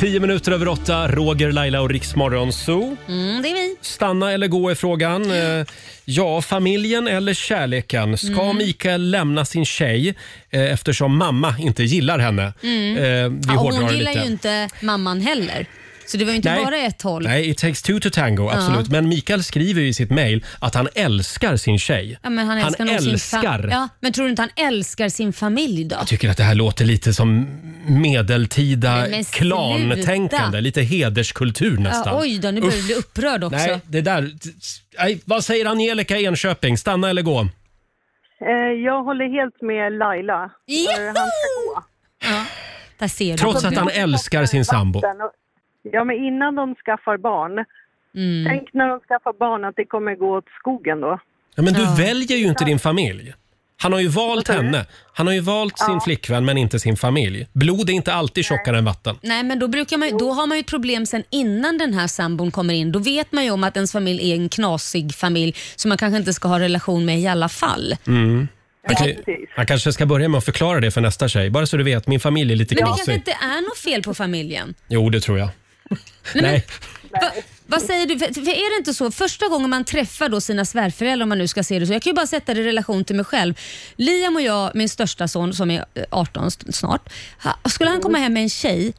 Tio minuter över åtta. Roger, Laila och Riksmorgon Zoo.
Mm, det är vi.
Stanna eller gå är frågan. Eh, Ja, familjen eller kärleken? Ska
Mm.
Mikael lämna sin tjej eh, eftersom mamma inte gillar henne?
Mm.
Eh, Vi
ja, och
hårdrar
hon
det
gillar
lite.
ju inte mamman heller. Så det var ju inte
Nej.
bara ett håll.
Nej, it takes two to tango,
Ja.
absolut. Men Mikael skriver ju i sitt mejl att han älskar sin tjej.
Ja, men han älskar, nog
älskar.
Sin fa- ja, men tror du inte han älskar sin familj då?
Jag tycker att det här låter lite som medeltida
Nej, men sluta.
klantänkande, lite hederskultur nästan.
Ja, oj då, nu börjar du
Uff.
bli upprörd också.
Nej, det där... Nej, vad säger Angelica i Enköping? Stanna eller gå?
Eh, Jag håller helt med Laila. För Han ska gå.
Där ser du.
Trots att han älskar sin sambo.
Sen och- Ja, men innan de skaffar barn.
Mm.
Tänk när de skaffar barn att det kommer gå åt skogen då.
Ja, men du väljer ju inte din familj. Han har ju valt henne. Han har ju valt sin flickvän men inte sin familj. Blod är inte alltid tjockare än vatten.
Nej, men då, brukar man, ju- då har man ju ett problem sen innan den här sambon kommer in. Då vet man ju om att ens familj är en knasig familj som man kanske inte ska ha relation med i alla fall.
Mm.
Det kan-
Okej, Jag kanske ska börja med att förklara det för nästa tjej. Bara så du vet, min familj är lite
Men det kanske
knasig.
inte är något fel på familjen?
Jo, det
(laughs)
tror jag.
men-
Nej,
Va, vad säger du? För, för är det inte så, första gången man träffar då sina svärföräldrar, om man nu ska se det så, jag kan ju bara sätta det i relation till mig själv. Liam och jag, min största son som är eh, 18 st- snart, ha- skulle han komma hem med en tjej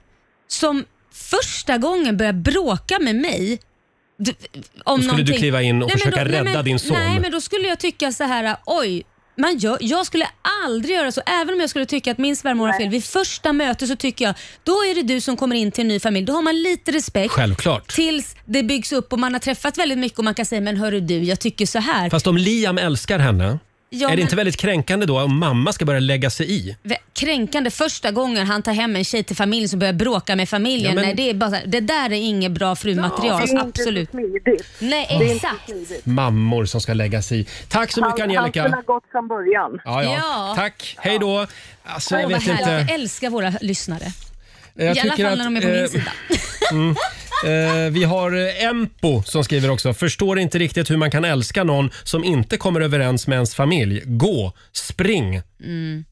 som första gången börjar bråka med mig d-
Då
om
skulle du
någonting.
kliva in och
men
försöka
nej, men-
rädda din son.
Nej, men då skulle jag tycka så här, oj, Man gör, jag skulle aldrig göra så, även om jag skulle tycka att min svärmor har fel. Vid första mötet så tycker jag, då är det du som kommer in till en ny familj. Då har man lite respekt.
Självklart.
Tills det byggs upp och man har träffat väldigt mycket och man kan säga, men hörru du, jag tycker så här.
Fast om Liam älskar henne,
Ja,
är det
men-
inte väldigt kränkande då om mamma ska börja lägga sig i?
Vä- Kränkande första gången han tar hem en tjej till familjen som börjar bråka med familjen.
Ja, men-
Nej, det, är bara, så här, det där är inget bra frumaterial.
Ja, det är inte
Absolut. Nej,
Det är inte
exakt.
Mammor som ska lägga sig i. Tack så mycket Angelica.
Han skulle ha gått från början.
Ja, ja. Tack, hej då. Alltså, jag
Åh, vad
vet
härligt. Jag
inte.
älskar våra lyssnare.
Jag
I alla
tycker
fall
att,
när de är på
eh,
min sida.
Mm. Eh, vi har eh, Empo som skriver också. Förstår inte riktigt hur man kan älska någon som inte kommer överens med ens familj. Gå, spring.
Mm.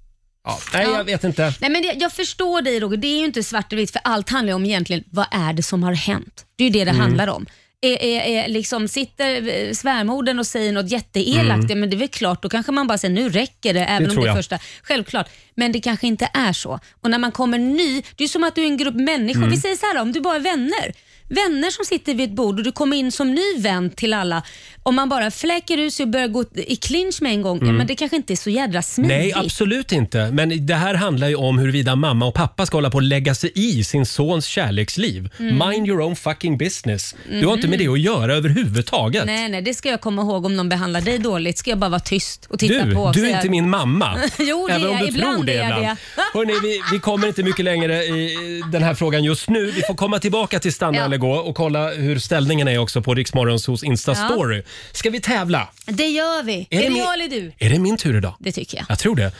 Ja, nej,
Ja.
jag vet inte.
Nej, men jag, jag förstår dig Roger, det är ju inte svart och vitt för allt handlar ju om egentligen vad är det som har hänt. Det är ju det det
Mm.
handlar om. Är, är, är, liksom, sitter eh, svärmodern och säger något jätteelakt,
Mm.
ja, men det är väl klart, då kanske man bara säger nu räcker det, även om
tror
det är
jag.
första. Självklart, men det kanske inte är så. Och när man kommer ny, det är ju som att du är en grupp människor.
Mm.
Vi säger så här då, om du bara är vänner. Vänner som sitter vid ett bord och du kommer in som ny vän till alla. Om man bara fläker ut sig och börjar gå i clinch med en gång, ja,
Mm.
men det kanske inte är så jädra smidigt.
Nej, absolut inte. Men det här handlar ju om huruvida mamma och pappa ska hålla på och lägga sig i sin sons kärleksliv.
Mm.
Mind your own fucking business. Du har inte med
Mhm.
det att göra överhuvudtaget.
Nej, nej, det ska jag komma ihåg om någon behandlar dig dåligt. Ska jag bara vara tyst och titta
du,
på. och
du är
säga-
inte min mamma.
(laughs) jo, det
Även
är
om
jag.
du
ibland
tror det
är jag
ibland.
(laughs)
Hörrni, vi, vi kommer inte mycket längre i den här frågan just nu. Vi får komma tillbaka till stanna
Ja.
eller gå och kolla hur ställningen är också på Riksmorgonsos Insta-story. Ska vi tävla?
det. Det gör vi. Är,
det
det
min-
jag eller du?
Är det min tur idag?
Det tycker jag.
Jag tror det.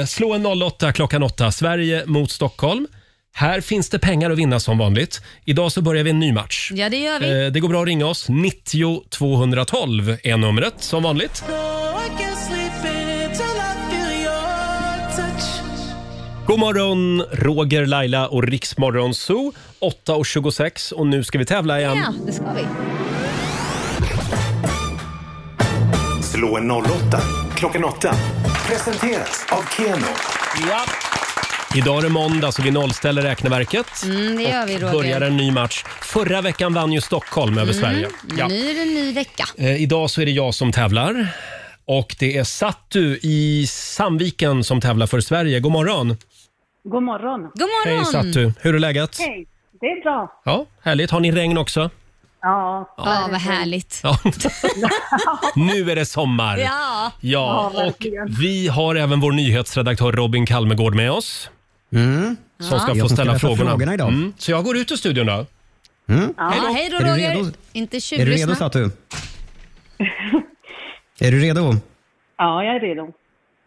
Eh, slå en 08 klockan 8. Sverige mot Stockholm. Här finns det pengar att vinna som vanligt. Idag så börjar vi en ny match.
Ja, det gör vi.
Eh, det går bra att ringa oss. 90 212 är numret som vanligt. God morgon, Roger, Laila och Riksmorgon Zoo. 8.26 och nu ska vi tävla igen.
Ja, det ska vi.
Slå en 08 klockan 8. Presenteras av Keno.
Ja. Idag är det måndag så vi nollställer räkneverket.
Mm, det gör vi, Roger. Mm.
Börjar en ny match. Förra veckan vann ju Stockholm över Sverige. Ja.
Nu är det en ny vecka.
Eh, idag så är det jag som tävlar. Och det är Sattu i Sandviken som tävlar för Sverige. God morgon!
God morgon. God
morgon. Hej, Sattu. Hur är läget?
Hej. Det är bra.
Ja, härligt. Har ni regn också?
Ja.
Ja, vad härligt.
Ja. nu är det sommar!
Ja.
Ja, och vi har även vår nyhetsredaktör Robin Kalmegård med oss.
Mm. Ja.
Som ska
Jag
få
som ska
ställa
läsa
frågorna.
frågorna idag.
Mm. Så jag går ut ur studion då.
Ja,
Hej då.
hej då,
Är du
Roger.
redo?
Inte
Är du redo
tjuvlyssna. (laughs)
Satu? är du redo?
Ja, jag är redo.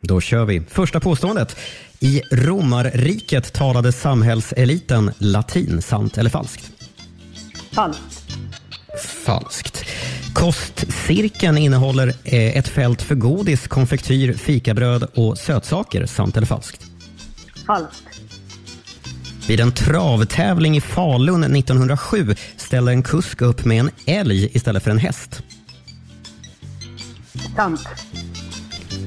Då kör vi. Första påståendet. I romarriket talade samhällseliten latin, sant eller falskt?
Falskt.
Falskt. Kostcirkeln innehåller eh, ett fält för godis, konfektyr, fikabröd och sötsaker, sant eller falskt?
Falskt.
Vid en travtävling i Falun 1907 ställde en kusk upp med en älg istället för en häst.
Sant.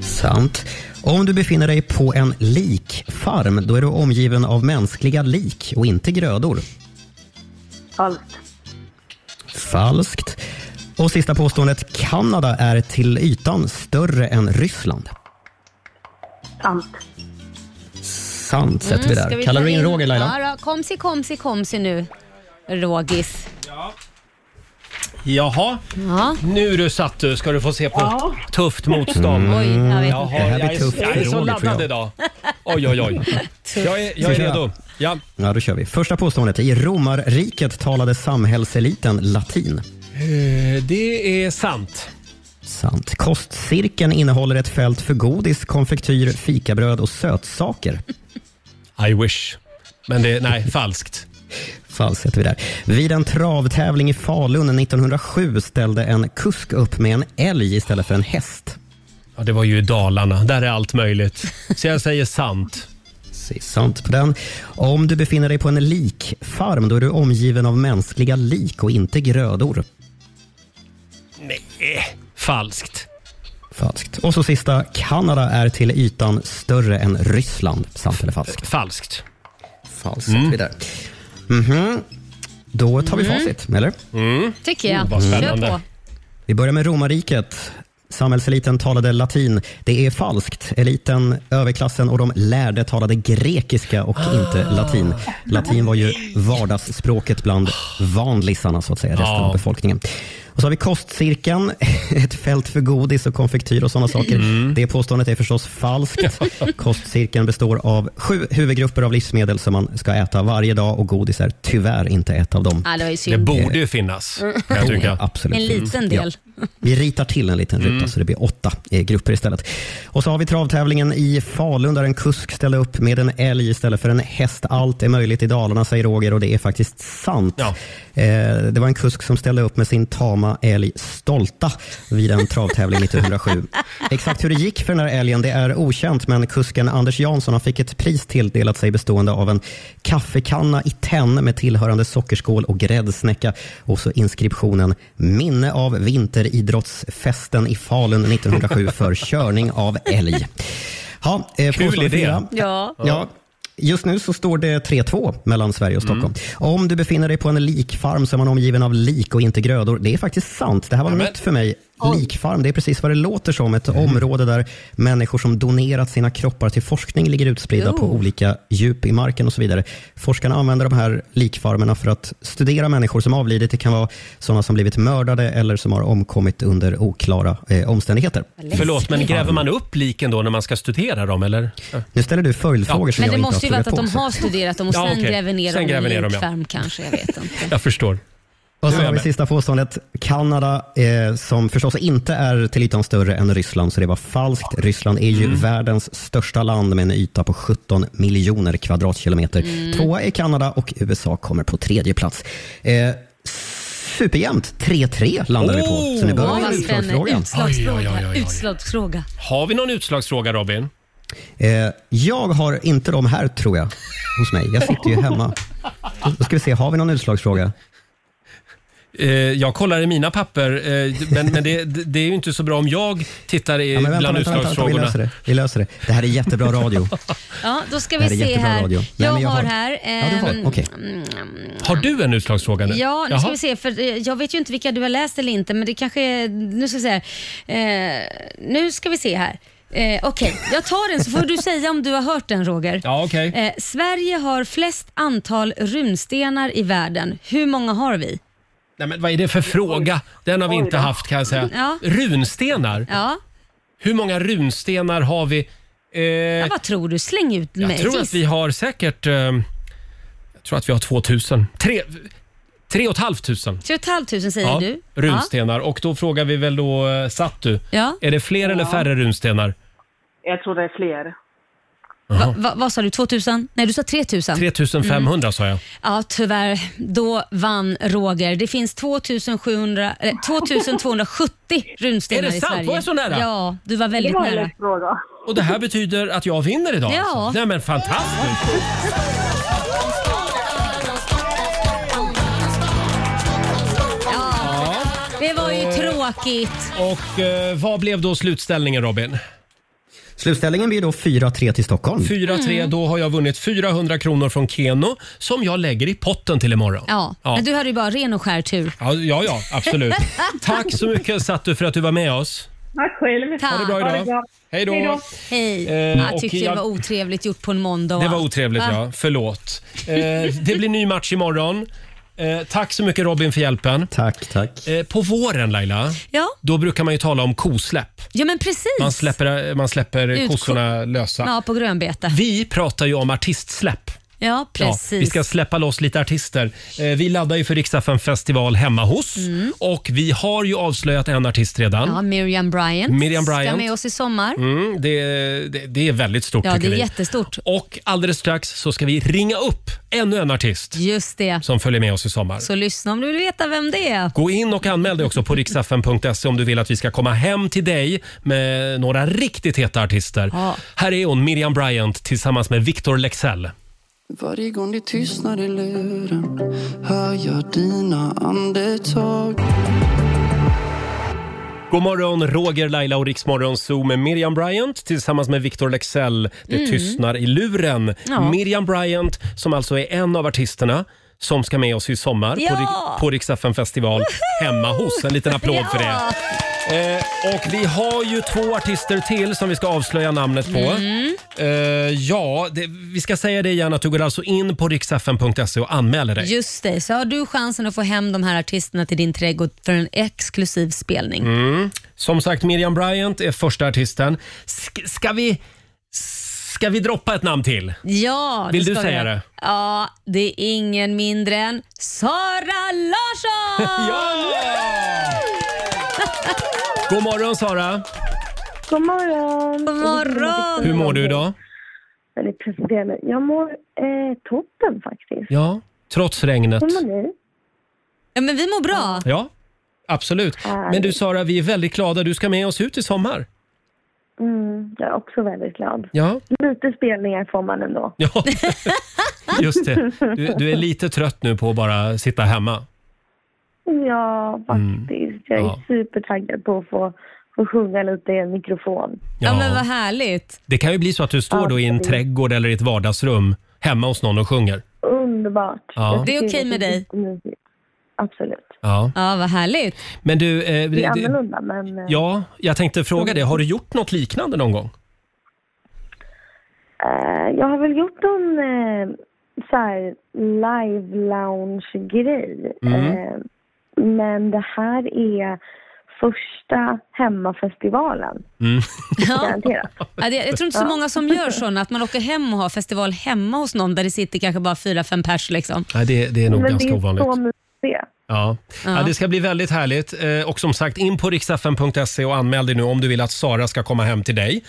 Sant. Om du befinner dig på en likfarm, då är du omgiven av mänskliga lik och inte grödor.
Falskt.
Falskt. Och sista påståendet. Kanada är till ytan större än Ryssland.
Sant.
Sant sätter vi
Mm, ska
där.
vi
Kallar
ta
du in Roger Laila?
Ja, då. komsi, komsi, komsi nu. Rogis.
Jaha, nu du Sattu ska du få se på
Ja.
tufft
Mm.
motstånd.
Oj, jag vet
Mm. Jaha,
inte. Det här blir
jag,
tufft
är,
för
jag är så
Roger, tror
laddad
jag.
idag. Oj, oj, oj. Jag är, jag är
Ska vi köra?
redo. Ja.
Ja, då kör vi. Första påståendet. I romarriket talade samhällseliten latin.
Eh, Det är sant.
Sant. Kostcirkeln innehåller ett fält för godis, konfektyr, fikabröd och sötsaker.
I wish. Men det, nej, falskt.
Falskt sätter vi där. Vid en travtävling i Falun 1907 ställde en kusk upp med en älg istället för en häst.
Ja, det var ju i Dalarna. Där är allt möjligt. Så jag säger sant.
Säg sant på den. Om du befinner dig på en likfarm, då är du omgiven av mänskliga lik och inte grödor.
Nej, Eh, falskt.
Falskt. Och så sista. Kanada är till ytan större än Ryssland. Sant eller falskt?
Falskt.
Falskt sätter vi där. Mhm. Då tar vi
Mm.
facit, eller?
Tycker jag.
Mm, vad
Oh,
Kör
spännande.
på.
Vi börjar med romarriket. Samhällseliten talade latin. Det är falskt. Eliten, överklassen och de lärde talade grekiska och inte latin. Latin var ju vardagsspråket bland vanlisarna, så att säga, resten
Ja.
av befolkningen. Och så har vi kostcirkeln, (laughs) ett fält för godis och konfektyr och sådana saker. Det påståendet är förstås falskt. Kostcirkeln består av sju huvudgrupper av livsmedel som man ska äta varje dag och godis är tyvärr inte ett av dem.
Ja, det var ju synd.
borde ju finnas, kan jag
Borde,
tycka. Mm.
Absolut. Mm.
En liten del.
Ja. Vi ritar till en liten ruta så det blir åtta eh, grupper istället. Och så har vi travtävlingen i Falun där en kusk ställde upp med en älg istället för en häst. Allt är möjligt i Dalarna, säger Roger, och det är faktiskt sant. Eh, det var en kusk som ställde upp med sin tama älg Stolta vid en travtävling
(laughs)
1907. Exakt hur det gick för den här älgen det är okänt, men kusken Anders Jansson han fick ett pris tilldelat sig bestående av en kaffekanna i tenn med tillhörande sockerskål och gräddsnäcka och så inskriptionen “Minne av vinteridrottsfesten i
(laughs)
Falun 1907 för körning av älg”. Ja, eh,
Kul
påstående
idé.
fyra.
Ja.
Ja. Just nu så står det 3-2 mellan Sverige och Stockholm. Om du befinner dig på en likfarm så är man omgiven av lik och inte grödor. Det är faktiskt sant. Det här var nytt för mig. Likfarm, det är precis vad det låter som. Ett område där människor som donerat sina kroppar till forskning ligger utspridda på
Oh.
olika djup i marken och så vidare. Forskarna använder de här likfarmerna för att studera människor som avlidit. Det kan vara sådana som blivit mördade eller som har omkommit under oklara eh, omständigheter.
Förlåt, men gräver man upp liken då när man ska studera dem eller?
Nu ställer du följdfrågor som
Men
jag
det
inte
måste ju
har
varit
förberett
att de
på, så
har studerat dem och
Ja,
sen
okej.
gräver ner
Sen
dem
gräver
i
ner
en
dem, ja.
likfarm kanske. Jag
(laughs)
vet inte.
Jag förstår.
Och
Nu
så
är
har
jag
vi
med.
sista påståendet. Kanada, eh, som förstås inte är till ytan större än Ryssland, så det var falskt. Ryssland är ju
Mm.
världens största land med en yta på 17 miljoner kvadratkilometer.
Mm.
Tvåa är Kanada och USA kommer på tredje plats. Eh, superjämnt. 3-3 landar vi på. Så nu börjar
Åh,
vi
Oh! vad
med
spännande.
utslagsfrågan.
Utslagsfråga.
Oj, oj, oj, oj, oj.
Utslagsfråga.
Har vi någon utslagsfråga Robin?
Eh, jag har inte de här, tror jag, hos mig. Jag sitter ju hemma. Då ska vi se, har vi någon utslagsfråga?
Eh, jag kollar i mina papper, eh, men, men det, det är ju inte så bra om jag tittar i
Ja, men vänta,
bland
vänta, vänta, vänta, vi
utslagsfrågorna.
löser det. Vi löser det. Det här är jättebra
(laughs)
radio.
Ja, då ska
Det
vi
här är
se
jättebra
här.
radio. Nej,
jag,
men jag
har
har-
här... ehm,
Har du en utslagsfråga nu?
Ja, nu ska
Jaha.
vi se. För eh, jag vet ju inte vilka du har läst eller inte, men det kanske är... Nu ska vi se här. Eh, nu ska vi se här. Eh, okej, jag tar den så får du säga om du har hört den Roger.
Ja, okej.
Eh, Sverige har flest antal runstenar i världen. Hur många har vi?
Nej, men vad är det för fråga? Den har vi inte haft kan jag säga.
Ja.
Runstenar?
Ja,
Hur många runstenar har vi? Eh,
ja vad tror du? Släng ut mig.
jag tror att
Giss.
vi har säkert... Eh, jag tror att vi har 2000. Tre, tre och ett halvt tusen.
3 500 säger
Ja,
du.
Runstenar. Och då frågar vi väl då eh, Sattu.
Ja.
Är det fler eller
Ja.
färre runstenar?
Jag tror det är fler.
Jaha.
Va, vad sa du? 2000? Nej, du sa 3000.
3500 sa jag.
Ja, tyvärr. Då vann Roger. Det finns 2700, eh, 2270 runstenar
Är det
i
sant?
Sverige.
Var jag så nära?
Ja, du var väldigt
Det var en
nära.
lätt Och det
(laughs)
här betyder att jag vinner idag?
Ja.
Alltså. Nej men fantastiskt! Ja.
Det var ju tråkigt.
Och eh, vad blev då slutställningen Robin?
Slutställningen blir då 4-3 till Stockholm.
4-3,
Mm.
då har jag vunnit 400 kronor från Keno som jag lägger i potten till imorgon.
Ja,
Ja.
men du hade ju bara ren och skär tur.
Ja, ja, ja
(laughs)
absolut. Tack så mycket Sattu för att du var med oss.
Tack själv.
Ha det bra idag. Hej då.
Hej.
Eh,
jag
och
tyckte
jag-
det var otrevligt gjort på en måndag. och
Det var
allt.
otrevligt
Va?
ja, förlåt. Eh, det blir ny match imorgon. Eh, tack så mycket Robin för hjälpen.
Tack, tack.
Eh, på våren Laila,
Ja.
då brukar man ju tala om kosläpp.
Ja, men precis.
Man släpper, eh, man släpper
Ut-
kossorna lösa.
Ja, på grönbete.
Vi pratar ju om artistsläpp.
Ja, precis.
Ja, vi ska släppa loss lite artister. Eh, Vi laddar ju för Riksdagen festival hemma hos och vi har ju avslöjat en artist redan.
Mm. Ja, Miriam Bryant,
Miriam
ska
Bryant.
med oss i sommar.
Mm, det, det, det är väldigt stort
Ja, det
tycker
är
vi.
jättestort.
Och alldeles strax så ska vi ringa upp ännu en artist
Just det.
som följer med oss i sommar.
Så lyssna om du vill veta vem det är.
Gå in och anmäl dig också på riksfn.se om du vill att vi ska komma hem till dig med några riktigt heta artister.
Ja.
Här är hon, Miriam Bryant, tillsammans med Victor Lexell.
Varje gång det tystnar i luren hör jag dina andetag
God morgon, Roger, Laila och Riksmorgon Zoo med Miriam Bryant tillsammans med Victor Lexell. Det
Mm.
tystnar i luren.
Ja.
Miriam Bryant som alltså är en av artisterna som ska med oss i sommar
Ja!
på, Rik- på Riksdagen festival hemma hos. En liten applåd för det.
Ja.
Eh, och vi har ju två artister till som vi ska avslöja namnet på.
Mm.
Eh, ja, det, vi ska säga det igen att du går alltså in på riksfn.se och anmäler dig.
Just det, så har du chansen att få hem de här artisterna till din trädgård för en exklusiv spelning.
Mm. Som sagt, Miriam Bryant är första artisten. Sk- ska, vi, ska vi droppa ett namn till?
Ja,
Vill
det
du
ska vi
säga
göra.
det?
Ja, det är ingen mindre än
(laughs)
Sara Larsson!
God morgon Sara!
God morgon!
God morgon!
Hur mår du idag?
Väldigt presenterande. Jag mår eh, toppen faktiskt. Mm,
Ja, trots regnet.
Hur mår ni?
Ja, men vi mår bra.
Ja, absolut. Men du Sara, vi är väldigt glada. Du ska med oss ut i sommar.
Mm, jag är också väldigt glad.
Ja,
Lite spelningar får man ändå.
ja. (laughs) just det. Du, du är lite trött nu på att bara sitta hemma.
Ja, faktiskt. Jag är
Mm. Ja.
supertaggad på att få, få sjunga lite i en mikrofon.
Ja. Ja, men vad
härligt.
Det kan ju bli så att du står då i en trädgård eller i ett vardagsrum hemma hos någon och sjunger.
Underbart.
Ja.
Jag
Det är
tycker
okej med
det är
dig?
jättemysigt. Absolut.
Ja.
Ja, vad härligt.
Men du, eh,
Det är
det-
annorlunda, men... eh,
ja, jag tänkte fråga dig, har du gjort något liknande någon gång?
Eh, jag har väl gjort någon eh, så här live lounge-grej.
Mm.
Eh, men det här är första hemmafestivalen.
Mm.
Garanterat.
Ja, det, jag tror inte så
Ja.
många som gör sådana, att man åker hem och har festival hemma hos någon där det sitter kanske bara fyra, fem pers. Liksom.
Nej, det, det är nog
Men det
ganska
är så
ovanligt.
Så mysigt det är.
Ja. Ja.
Ja.
det ska bli väldigt härligt. Eh, Och som sagt, in på riksfn.se och anmäl dig nu om du vill att Sara ska komma hem till dig.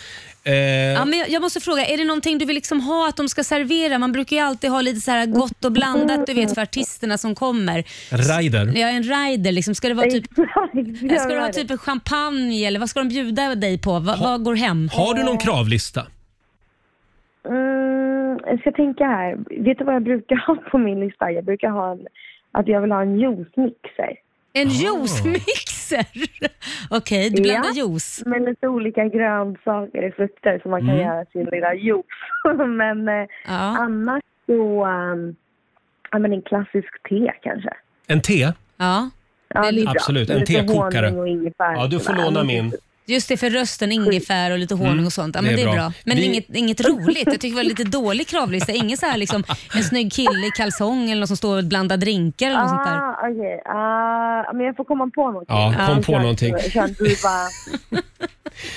Eh,
Ja, men jag, jag måste fråga, är det någonting du vill liksom ha att de ska servera? Man brukar ju alltid ha lite så här gott och blandat du vet, för artisterna som kommer.
Rider.
Ja, en rider. Liksom. Ska det
(laughs)
vara typ, ska det vara typ en champagne eller vad ska de bjuda dig på? Va, vad går hem?
Har du någon kravlista?
Mm, jag ska tänka här. Vet du vad jag brukar ha på min lista? Jag brukar ha en, att jag vill ha en juicemixer.
En juicemixer? (laughs) Okej, du blandar juice.
Med lite olika grönsaker och frukter som man kan
Mm.
göra sin lilla juice. (laughs) men eh, annars så... ehm, ja, men en klassisk te kanske.
En te?
Ja.
Ja, det är bra.
Absolut, en
Lite
tekokare.
honung och ingefära
Ja, du får
och sådär.
låna min.
Just det, för rösten, ingefära och lite honung
Mm,
och sånt. Ja,
det
men
är
det är
bra.
bra. Men
Vi-
inget, inget roligt. Jag tycker det var lite dålig kravlista. Ingen så här liksom en snygg kille i kalsong eller någon som står och blandar drinkar eller något sånt där.
Ah, okej. Ah, men jag får komma på någonting.
Ja, kom på
kör-
någonting.
Kör en diva.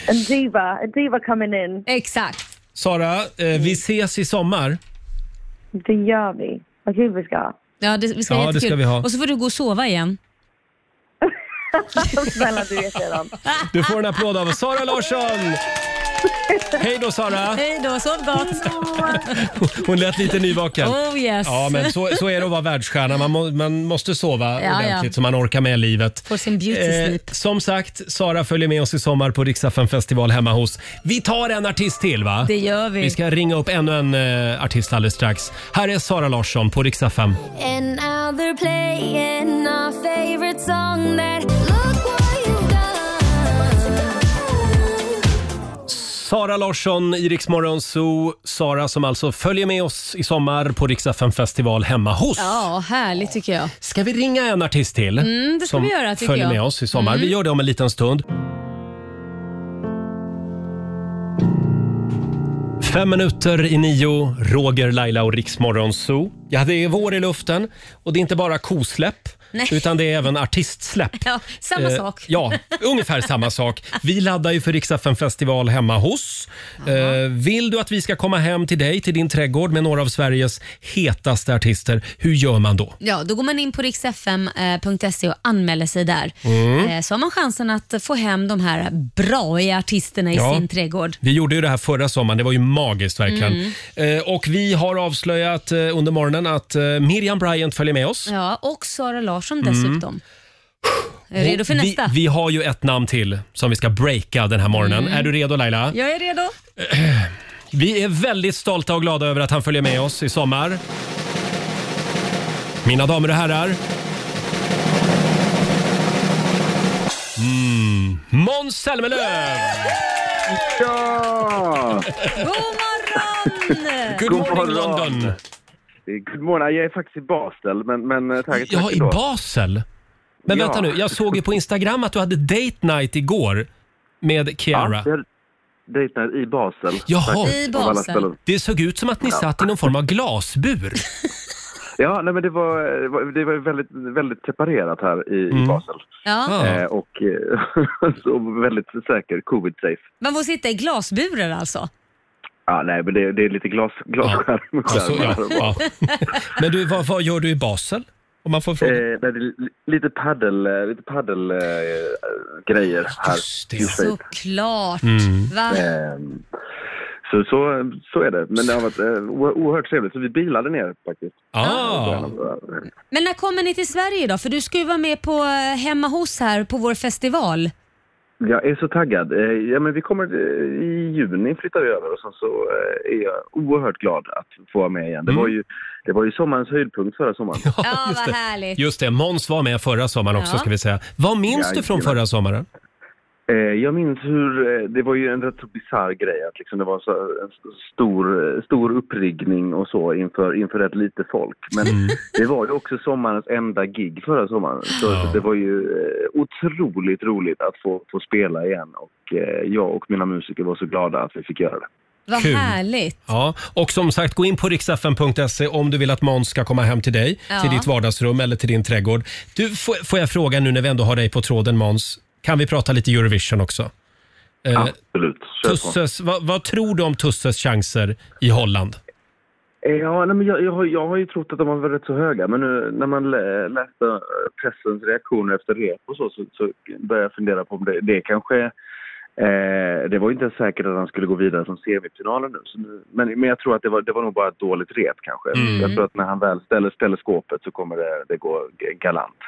en diva. En diva coming in.
Exakt.
Sara, eh, vi ses i sommar.
Det gör vi. Vad kul vi ska ha. (laughs)
Ja, det, vi ska
Ja,
ha
det
jättekul.
ska vi ha.
Och så får du gå och sova igen.
Snälla, du vet redan.
Du får en applåd av Sara Larsson! Hej då Sara!
Hej då, sov (laughs) gott.
Hon lät lite nyvaken.
Oh, yes.
Ja, men så, så är det att vara världsstjärna. Man, må, man måste sova
Ja, ja.
ordentligt så man orkar med livet. Eh,
Får sin beauty sleep.
som sagt, Sara följer med oss i sommar på Riksaffen festival hemma hos. Vi tar en artist till va?
Det gör vi.
Vi ska ringa upp ännu en eh, artist alldeles strax. Här är Sara Larsson på Riksaffen.
And now they're playing our favorite song that Look what you done.
Sara Larsson i Rix Morgon Zoo. Sara som alltså följer med oss i sommar på Riksaffen festival hemma hos.
Ja, härligt tycker jag.
Ska vi ringa en artist till?
Mm, det ska
som
vi göra, tycker
följer
jag.
med oss i sommar.
Mm.
Vi gör det om en liten stund. Fem minuter i nio, Roger, Laila och Riksmorgon Zoo. Ja, det är vår i luften och det är inte bara kosläpp
Nej.
utan det är även artistsläpp.
Ja, (laughs) samma
Eh,
sak.
Ja, ungefär samma sak. Vi laddar ju för Riksdagen festival hemma hos. Eh, vill du att vi ska komma hem till dig, till din trädgård med några av Sveriges hetaste artister, hur gör man då?
Ja, då går man in på riksfm.se och anmäler sig där.
Mm.
Eh, Så har man chansen att få hem de här braiga artisterna i
Ja.
sin trädgård.
Vi gjorde ju det här förra sommaren. Det var ju magiskt verkligen.
Mm.
Eh, och vi har avslöjat eh, under morgonen att eh, Miriam Bryant följer med oss.
Ja, och Sara Larsson
Mm.
dessutom. Är du redo för
Och
nästa?
Vi, vi har ju ett namn till som vi ska breaka den här morgonen.
Mm.
Är du redo Laila?
Jag är redo.
Vi är väldigt stolta och glada över att han följer med oss i sommar. Mina damer och herrar. Mm. Måns Zelmerlöw!
Ja!
Good
God morgon!
morning London!
i god morgon. Jag är faktiskt i Basel, men, men eh, tack.
Ja,
tack
i
ändå.
Basel? Men
Ja.
vänta nu, jag såg ju på Instagram att du hade date night igår med Ciara.
Ja, det är date night i Basel.
Jaha,
Faktiskt, av alla ställen.
det såg ut som att ni
Ja.
satt i någon form av glasbur.
Ja, nej, men det var, det var- det var väldigt, väldigt separerat här i, i Basel.
Ja.
(laughs)
Ah,
Eh, och eh, (laughs) så väldigt säker, covid-safe.
Man får sitta i glasburar alltså?
Ja, nej, men det, det är lite glas, glasskärm. (laughs) Ja.
så- alltså, ja, ja. (laughs) Men du, vad, vad gör du i Basel? Om man får fråga.
Eh, nej, det är li- lite paddel, eh, lite paddel eh, grejer här. Just
Såklart.
Mm.
Va?
Ehm, Så, så, så är det. Men det har varit eh, o- oerhört trevligt. Så vi bilade ner faktiskt.
Ah.
Men när kommer ni till Sverige då? För du ska ju vara med på eh, Hemma hos här på vår festival.
Jag är så taggad. Eh, Ja, men vi kommer, eh, I juni flyttar vi över och sen så eh, är jag oerhört glad att få vara med igen. Det, var, ju, det var ju sommarens höjdpunkt förra sommaren.
Ja, vad härligt.
Just det, Måns var med förra sommaren också
Ja.
ska vi säga. Vad minns du från
Jajamän.
förra sommaren?
Eh, Jag minns hur, eh, det var ju en rätt så bisarr grej att liksom det var så en st- stor, eh, stor uppriggning och så inför, inför rätt lite folk. Men det var ju också sommarens enda gig förra sommaren. Så
Ja.
det var ju eh, otroligt roligt att få, få spela igen och eh, jag och mina musiker var så glada att vi fick göra det.
Vad
Kul.
härligt.
Ja, och som sagt, gå in på riksfn.se om du vill att Måns ska komma hem till dig,
Ja.
till ditt vardagsrum eller till din trädgård. Du, får, får jag fråga nu när vi ändå har dig på tråden Måns, kan vi prata lite Eurovision också? Eh,
Absolut. Kör på.
Tusses, vad, vad tror du om Tusses chanser i Holland?
Eh, Ja, nej, men jag, jag, har- jag har ju trott att de var rätt så höga, men nu när man lä, läste eh, pressens reaktioner efter rep och så, så, så började jag fundera på om det, det kanske... Eh, det var ju inte ens säkert att han skulle gå vidare från semifinalen nu. Så nu men, men jag tror att det var, det var nog bara ett dåligt rep kanske.
Mm.
Jag tror att när han väl ställer, ställer skåpet så kommer det, det gå g- galant.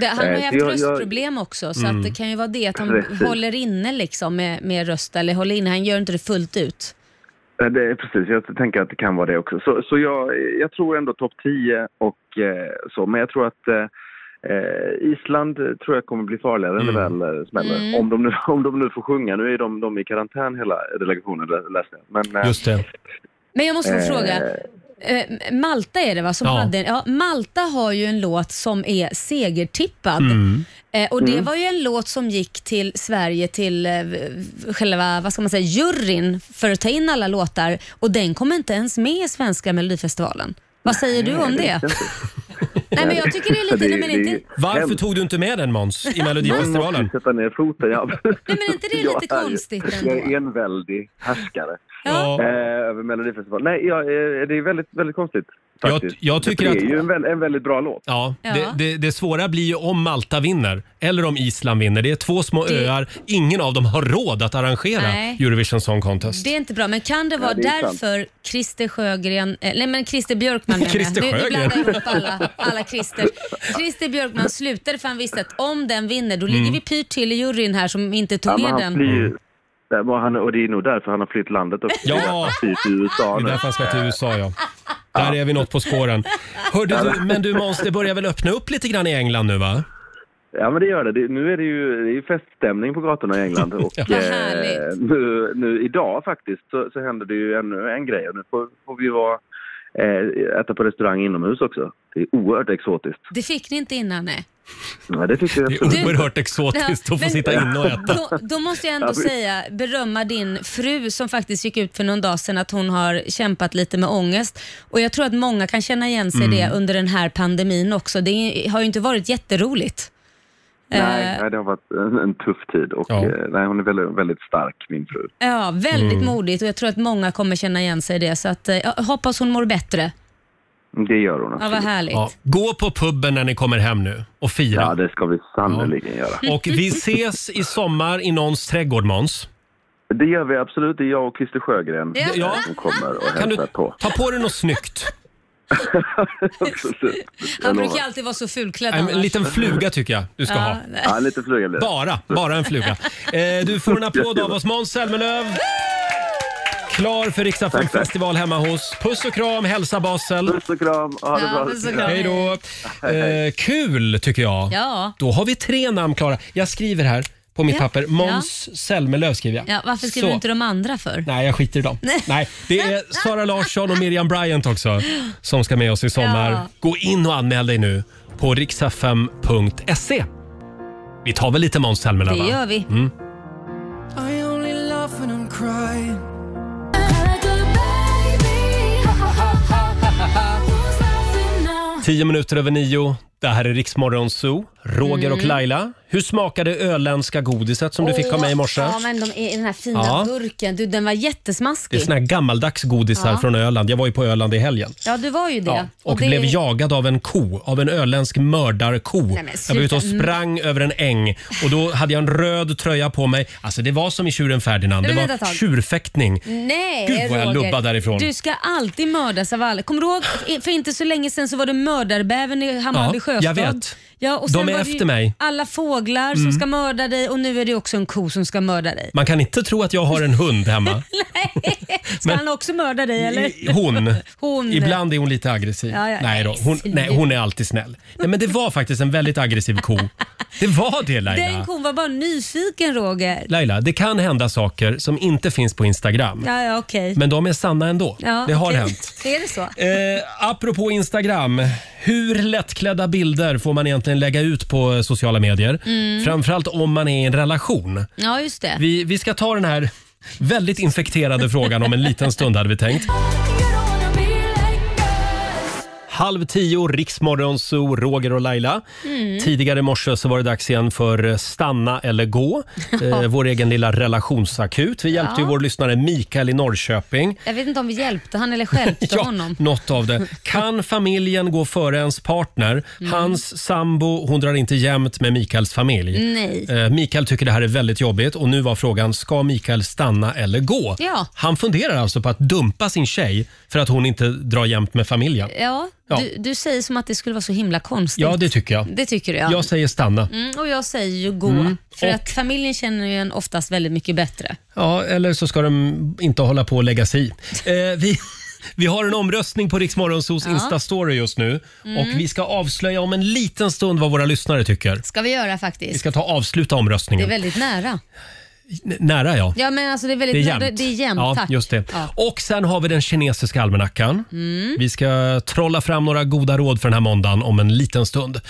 Det, han har ju
Eh,
haft
jag- jag-
röstproblem också, så
Mm.
att det kan ju vara det att han
Precis.
håller inne liksom med, med röst, eller håller inne, han gör inte det fullt ut.
Eh, Det, är precis, jag tänker att det kan vara det också. Så, så jag, jag tror ändå topp 10 och eh, så. Men jag tror att eh, eh, Island tror jag kommer bli farligare när det väl eh, smäller.
Mm.
Om, de nu, (laughs) om de nu får sjunga. Nu är de, de i karantän hela delegationen lä- läste jag. Men, eh,
Just det.
Men jag måste få
Eh.
fråga, eh, Malta är det va? Som
Ja.
Hade, ja, Malta har ju en låt som är segertippad.
Mm.
Eh, och det
Mm.
var ju en låt som gick till Sverige, till eh, själva, vad ska man säga, juryn för att ta in alla låtar och den kom inte ens med i svenska melodifestivalen. Vad säger du om det? (laughs) Nej men jag tycker det är lite, nej, men inte,
Varför tog du inte med den Måns i
Någon
Melodifestivalen?
måste sätta ner foten. Ja. Nej,
men inte det lite konstigt
Jag
ändå?
är en väldig härskare
Ja.
eh, över Melodifestivalen. Nej, jag, eh, det är väldigt, väldigt konstigt.
Jag, jag tycker
det är
att...
ju en, väl, en väldigt bra låt.
Ja,
Ja.
Det, det, det svåra blir ju om Malta vinner eller om Island vinner. Det är två små
Det-
öar. Ingen av dem har råd att arrangera
Nej.
Eurovision Song Contest.
det är inte bra. Men kan det
Ja,
vara
det är sant.
därför Christer Sjögren, eh, nej men Christer Björkman menar jag.
Christer
Nu- Nu blandar jag
Sjögren.
ihop alla, alla Christer. Christer Björkman slutade för han visste att om den vinner då
Mm.
ligger vi pyrt till i juryn här som inte tog
men
med
han
den.
flyr ju- Där var han, och det är nog därför han har flytt landet också.
Ja.
Det är därför han flyr till USA
Det är
nu.
därför han ska till USA ja. Där är vi något på spåren. Hörde du, men du Måns, det börjar väl öppna upp lite grann i England nu va?
Ja men det gör det. det nu är det ju, det är ju feststämning på gatorna i
(laughs)
England. Och,
Ja. Vad
eh, nu, nu idag faktiskt så, så händer det ju ännu en grej. Och nu får, får vi vara, eh, äta på restaurang inomhus också. Det är oerhört exotiskt.
Det fick ni inte innan nej.
Ja, det, tycker jag
Det är
absolut.
oerhört exotiskt
Ja,
att få
men-
sitta inne och äta.
Då, då måste jag
Ja,
ändå
vi-
säga, berömma din fru som faktiskt gick ut för någon dag sedan att hon har kämpat lite med ångest. Och jag tror att många kan känna igen sig i
Mm.
det under den här pandemin också. Det har ju inte varit jätteroligt.
Nej,
Eh.
nej, det har varit en, en tuff tid. Och, eh, nej, hon är väldigt, väldigt stark, min fru.
Ja, väldigt
Mm.
modigt och jag tror att många kommer känna igen sig i det. Så att, eh, jag hoppas hon mår bättre.
Det gör hon.
Ja, vad härligt.
Gå på puben när ni kommer hem nu och fira. Ja,
det ska vi sannerligen göra.
Och vi ses i sommar i någons trädgård Måns.
Det gör vi absolut. Det är jag och Christer Sjögren
Ja. Ja.
som kommer och
Kan du
hälsar
(laughs)
på.
ta på dig något snyggt?
Absolut.
Han
Jag
brukar
lovar.
alltid vara så fulklädd
En, en
annars.
liten fluga tycker jag du ska
Ja.
ha.
Ja, en liten fluga blir det.
Bara, bara en fluga. Eh, du får en applåd av oss Måns Zelmerlöw. Klar för Riksdagen festival hemma hos. Puss och kram, hälsa Basel.
Puss och kram, ha
det Ja, bra. puss och kram.
Hej då. Eh, kul tycker jag.
Ja.
Då har vi tre namn klara. Jag skriver här på mitt
Ja.
papper. Måns Zelmerlöw skriver jag.
Ja, varför skriver
Så.
du inte de andra för?
Nej, jag skiter i dem. Nej, det är Sara Larsson och Miriam Bryant också som ska med oss i sommar.
Ja.
Gå in och anmäl dig nu på riksfm.se. Vi tar väl lite Måns Zelmerlöw?
Det
va?
gör vi.
Mm.
I only laugh when I'm crying.
Tio minuter över nio. Det här är Riksmorgon Zoo. Roger och
Mm.
Laila, hur smakade öländska godiset som du fick av mig i morse?
Ja, men de är i den här fina
Ja.
burken. Du, den var jättesmaskig.
Det är sån här gammaldags godis här
Ja.
från Öland. Jag var ju på Öland i helgen.
Ja, du var ju det.
Ja, och
det...
blev jagad av en ko, av en öländsk mördarko.
Nej, men
jag var ute och
sluta. Mm.
sprang över en äng och då hade jag en röd tröja på mig. Alltså det var som i tjuren Ferdinand. Det
Men vänta ett
var
tag.
tjurfäktning.
Nej,
Gud, vad jag
Roger.
lubbade därifrån.
Du ska alltid mördas av alla. Kommer du ihåg, för inte så länge sedan så var det mördarbäven i Hammarby
Ja,
sjöstad.
jag vet.
Ja, och
De
sen
är
var det ju
efter mig.
Alla fåglar
Mm.
som ska mörda dig och nu är det också en ko som ska mörda dig.
Man kan inte tro att jag har en hund hemma.
Ska
Men-
han också mörda dig (laughs) eller?
Hon.
Hon.
Ibland är hon lite aggressiv.
Ja, ja,
nej, då. Hon, nej, hon är alltid snäll. Nej, men det var faktiskt en väldigt aggressiv ko. Det var det Laila.
(laughs) Den kon var bara nyfiken Roger.
Laila, det kan hända saker som inte finns på Instagram.
Ja, ja okej.
Men de är sanna ändå.
Ja,
det har
okej.
hänt.
(laughs) Är det så?
Eh, apropå Instagram, hur lättklädda bilder får man egentligen lägga ut på eh, sociala medier?
Mm.
Framförallt om man är i en relation.
Ja, just det.
Vi, vi ska ta den här väldigt infekterade frågan om en liten stund hade vi tänkt. Halv tio, Riksmorgon, så Roger och Laila.
Mm.
Tidigare i morse så var det dags igen för Stanna eller
(laughs)
gå. Eh, vår egen lilla relationsakut. Vi hjälpte ju
Ja.
vår lyssnare Mikael i Norrköping.
Jag vet inte om vi hjälpte han
(laughs)
eller stjälpte honom.
Något av det. Kan familjen gå före ens partner?
Mm.
Hans sambo hon drar inte jämnt med Mikaels familj.
Nej.
Eh, Mikael tycker det här är väldigt jobbigt och nu var frågan, ska Mikael stanna eller gå?
Ja.
Han funderar alltså på att dumpa sin tjej för att hon inte drar jämnt med familjen.
Ja,
Ja.
Du, du säger som att det skulle vara så himla konstigt.
Ja, det tycker jag.
Det tycker jag.
Jag säger stanna.
Mm, och jag säger ju gå,
Mm.
för
Och-
att familjen känner ju en oftast väldigt mycket bättre.
Ja, eller så ska de inte hålla på och lägga
(laughs)
sig i. eh, vi, vi har en omröstning på Riksmorgonsos
Ja.
Insta-story just nu
Mm.
och vi ska avslöja om en liten stund vad våra lyssnare tycker.
ska vi göra
Vi
faktiskt.
ska ta avsluta
Det är
omröstningen.
väldigt nära.
N- Nära ja.
Ja, men alltså det är
Det är
väldigt nära.
jämnt.
Det är jämnt,
ja,
tack.
Just det.
Ja.
Och sen har vi den kinesiska almanackan.
Mm.
Vi ska trolla fram några goda råd för den här måndagen om en liten stund.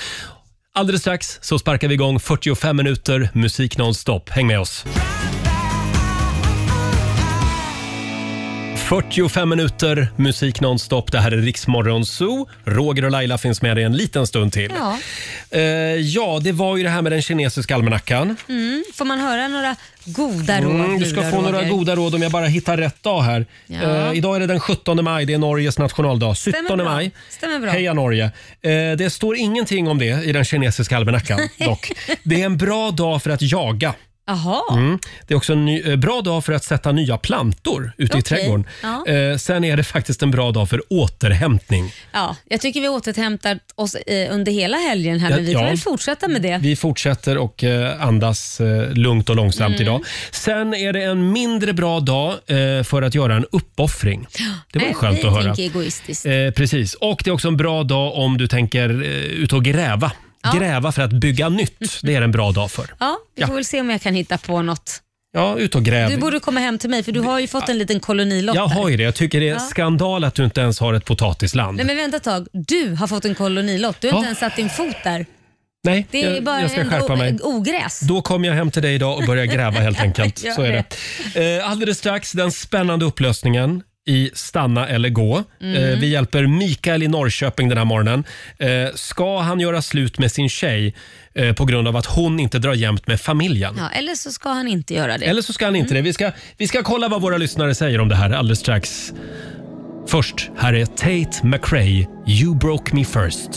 Alldeles strax så sparkar vi igång 45 minuter musik nonstop. Häng med oss. 45 minuter musik nonstop. Det här är Riksmorgon Zoo. Roger och Laila finns med dig en liten stund till.
Ja. Mm,
Eh, ja, det var ju det här med den kinesiska almanackan.
Mm. Får man höra några goda råd
Mm, du
nu
ska
då,
få några
Roger?
goda råd om jag bara hittar rätt dag här.
Ja.
Eh, idag är det den 17 maj, det är Norges nationaldag.
Stämmer
17
bra.
maj.
Stämmer bra.
Heja Norge! Eh, det står ingenting om det i den kinesiska almanackan dock. Det är en bra dag för att jaga.
Jaha.
Mm. Det är också en ny, eh, bra dag för att sätta nya plantor ute i
Okej.
trädgården.
Ja.
Eh, sen är det faktiskt en bra dag för återhämtning.
Ja, jag tycker vi har återhämtat oss eh, under hela helgen här, men vi
Ja.
kan väl fortsätta med det.
Vi fortsätter och eh, andas eh, lugnt och långsamt
Mm.
idag. Sen är det en mindre bra dag eh, för att göra en uppoffring. Det var ju
Nej,
skönt
vi
att höra.
Äh, tänker egoistiskt.
Eh, precis. Och det är också en bra dag om du tänker eh, ut och gräva. Gräva för att bygga nytt. Det är en bra dag för.
Ja, vi
Ja.
får väl se om jag kan hitta på något.
Ja, ut och gräv.
Du borde komma hem till mig för du har ju fått en liten kolonilott
Jag
här.
har ju det. Jag tycker det är
Ja.
skandal att du inte ens har ett potatisland.
Nej men vänta ett tag, du har fått en kolonilott. Du har
Ja.
inte ens satt din fot där.
Nej,
Det är
jag,
bara
jag ska
en
skärpa
o-
mig.
ogräs.
Då kommer jag hem till dig idag och börjar gräva
(laughs)
helt enkelt.
Gör
Så är det. Eh, Alldeles strax den spännande upplösningen i Stanna eller gå.
Mm.
Eh, vi hjälper Mikael i Norrköping den här morgonen. Eh, ska han göra slut med sin tjej eh, på grund av att hon inte drar jämnt med familjen?
Ja, Mm. eller så ska han inte göra det.
Eller så ska han inte det. Vi ska, vi ska kolla vad våra lyssnare säger om det här alldeles strax. Först, här är Tate McRae, You broke me first.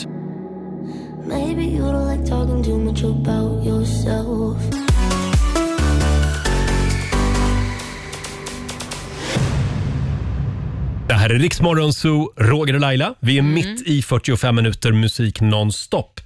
Maybe you don't like talking too much about yourself.
Det här är Riksmorgon Zoo, Roger och Laila. Vi är
Mm.
mitt i 45 minuter musik nonstop.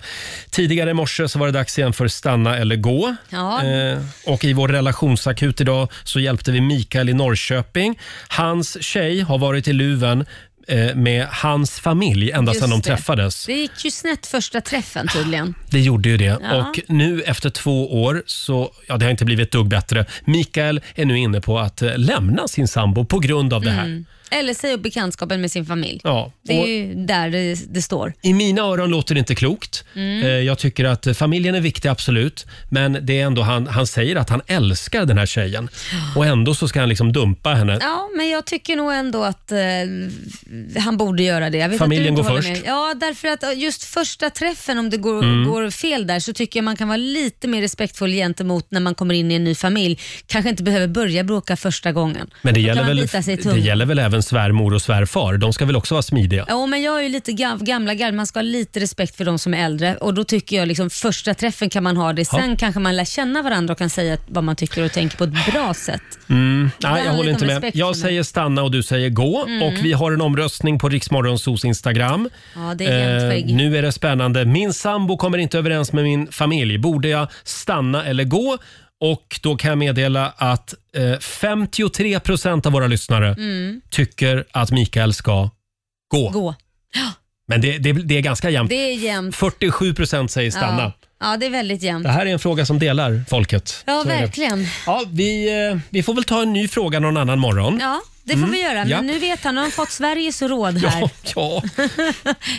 Tidigare i morse så var det dags igen för Stanna eller gå.
Ja.
Eh, och I vår relationsakut idag så hjälpte vi Mikael i Norrköping. Hans tjej har varit i luven eh, med hans familj ända
Just
sedan de
det.
träffades.
Det gick ju snett första träffen tydligen.
Det gjorde ju det.
Ja.
Och nu efter två år så, ja det har inte blivit ett dugg bättre. Mikael är nu inne på att eh, lämna sin sambo på grund av det här.
Mm. Eller säga upp bekantskapen med sin familj.
Ja,
Det är
och-
ju där det, det står.
I mina öron låter det inte klokt.
Mm.
Eh, Jag tycker att eh, familjen är viktig, absolut. Men det är ändå han, han säger att han älskar den här tjejen. Och ändå så ska han liksom dumpa henne.
Ja, men jag tycker nog ändå att eh, han borde göra det. Jag vet
Familjen
att du inte
går
håller
först.
Med. Ja, därför att eh, just första träffen, om det går,
Mm.
går fel där, så tycker jag man kan vara lite mer respektfull gentemot när man kommer in i en ny familj. Kanske inte behöver börja bråka första gången.
Men det
Då kan
gäller,
man
väl,
bita sig i
det
tungan.
gäller väl även svärmor och svärfar? De ska väl också vara smidiga?
Ja, men jag är ju lite gam- gamla gard. Man ska ha lite respekt för de som är äldre och då tycker jag liksom första träffen kan man ha det. Sen
Ja.
kanske man lär känna varandra och kan säga vad man tycker och tänker på ett bra sätt.
Mm,
handlar
nej, jag
lite
håller inte
om
med.
respekt
Jag
för mig.
säger stanna och du säger gå.
Mm.
Och Vi har en omröstning på Riksmorgonsos Instagram.
Ja, det är jämnt skägg.
Eh, nu är det spännande. Min sambo kommer inte överens med min familj. Borde jag stanna eller gå? Och Då kan jag meddela att eh, 53 procent av våra lyssnare
Mm.
tycker att Mikael ska gå.
Gå.
Men det, det, det är ganska jämnt.
Det är jämnt.
47 procent säger stanna.
Ja. ja, det är väldigt jämnt.
Det här är en fråga som delar folket.
Ja,
Så är det.
verkligen.
Ja, vi, eh, vi får väl ta en ny fråga någon annan morgon.
Ja, det får
Mm,
vi göra. Men
ja.
nu vet han, nu har han fått Sveriges råd här.
(laughs) Ja, ja.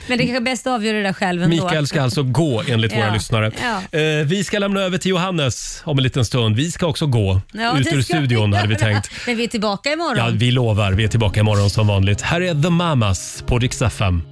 Men det är kanske är bäst att avgöra det där själv ändå.
Mikael ska alltså gå enligt våra
Ja,
lyssnare.
ja.
Eh, vi ska lämna över till Johannes om en liten stund. Vi ska också gå
Ja,
ut ur
det ska vi
studion hade vi
göra. (laughs)
tänkt.
Men vi är tillbaka imorgon.
Ja, vi lovar. Vi är tillbaka imorgon som vanligt. Här är The Mamas på Rix FM.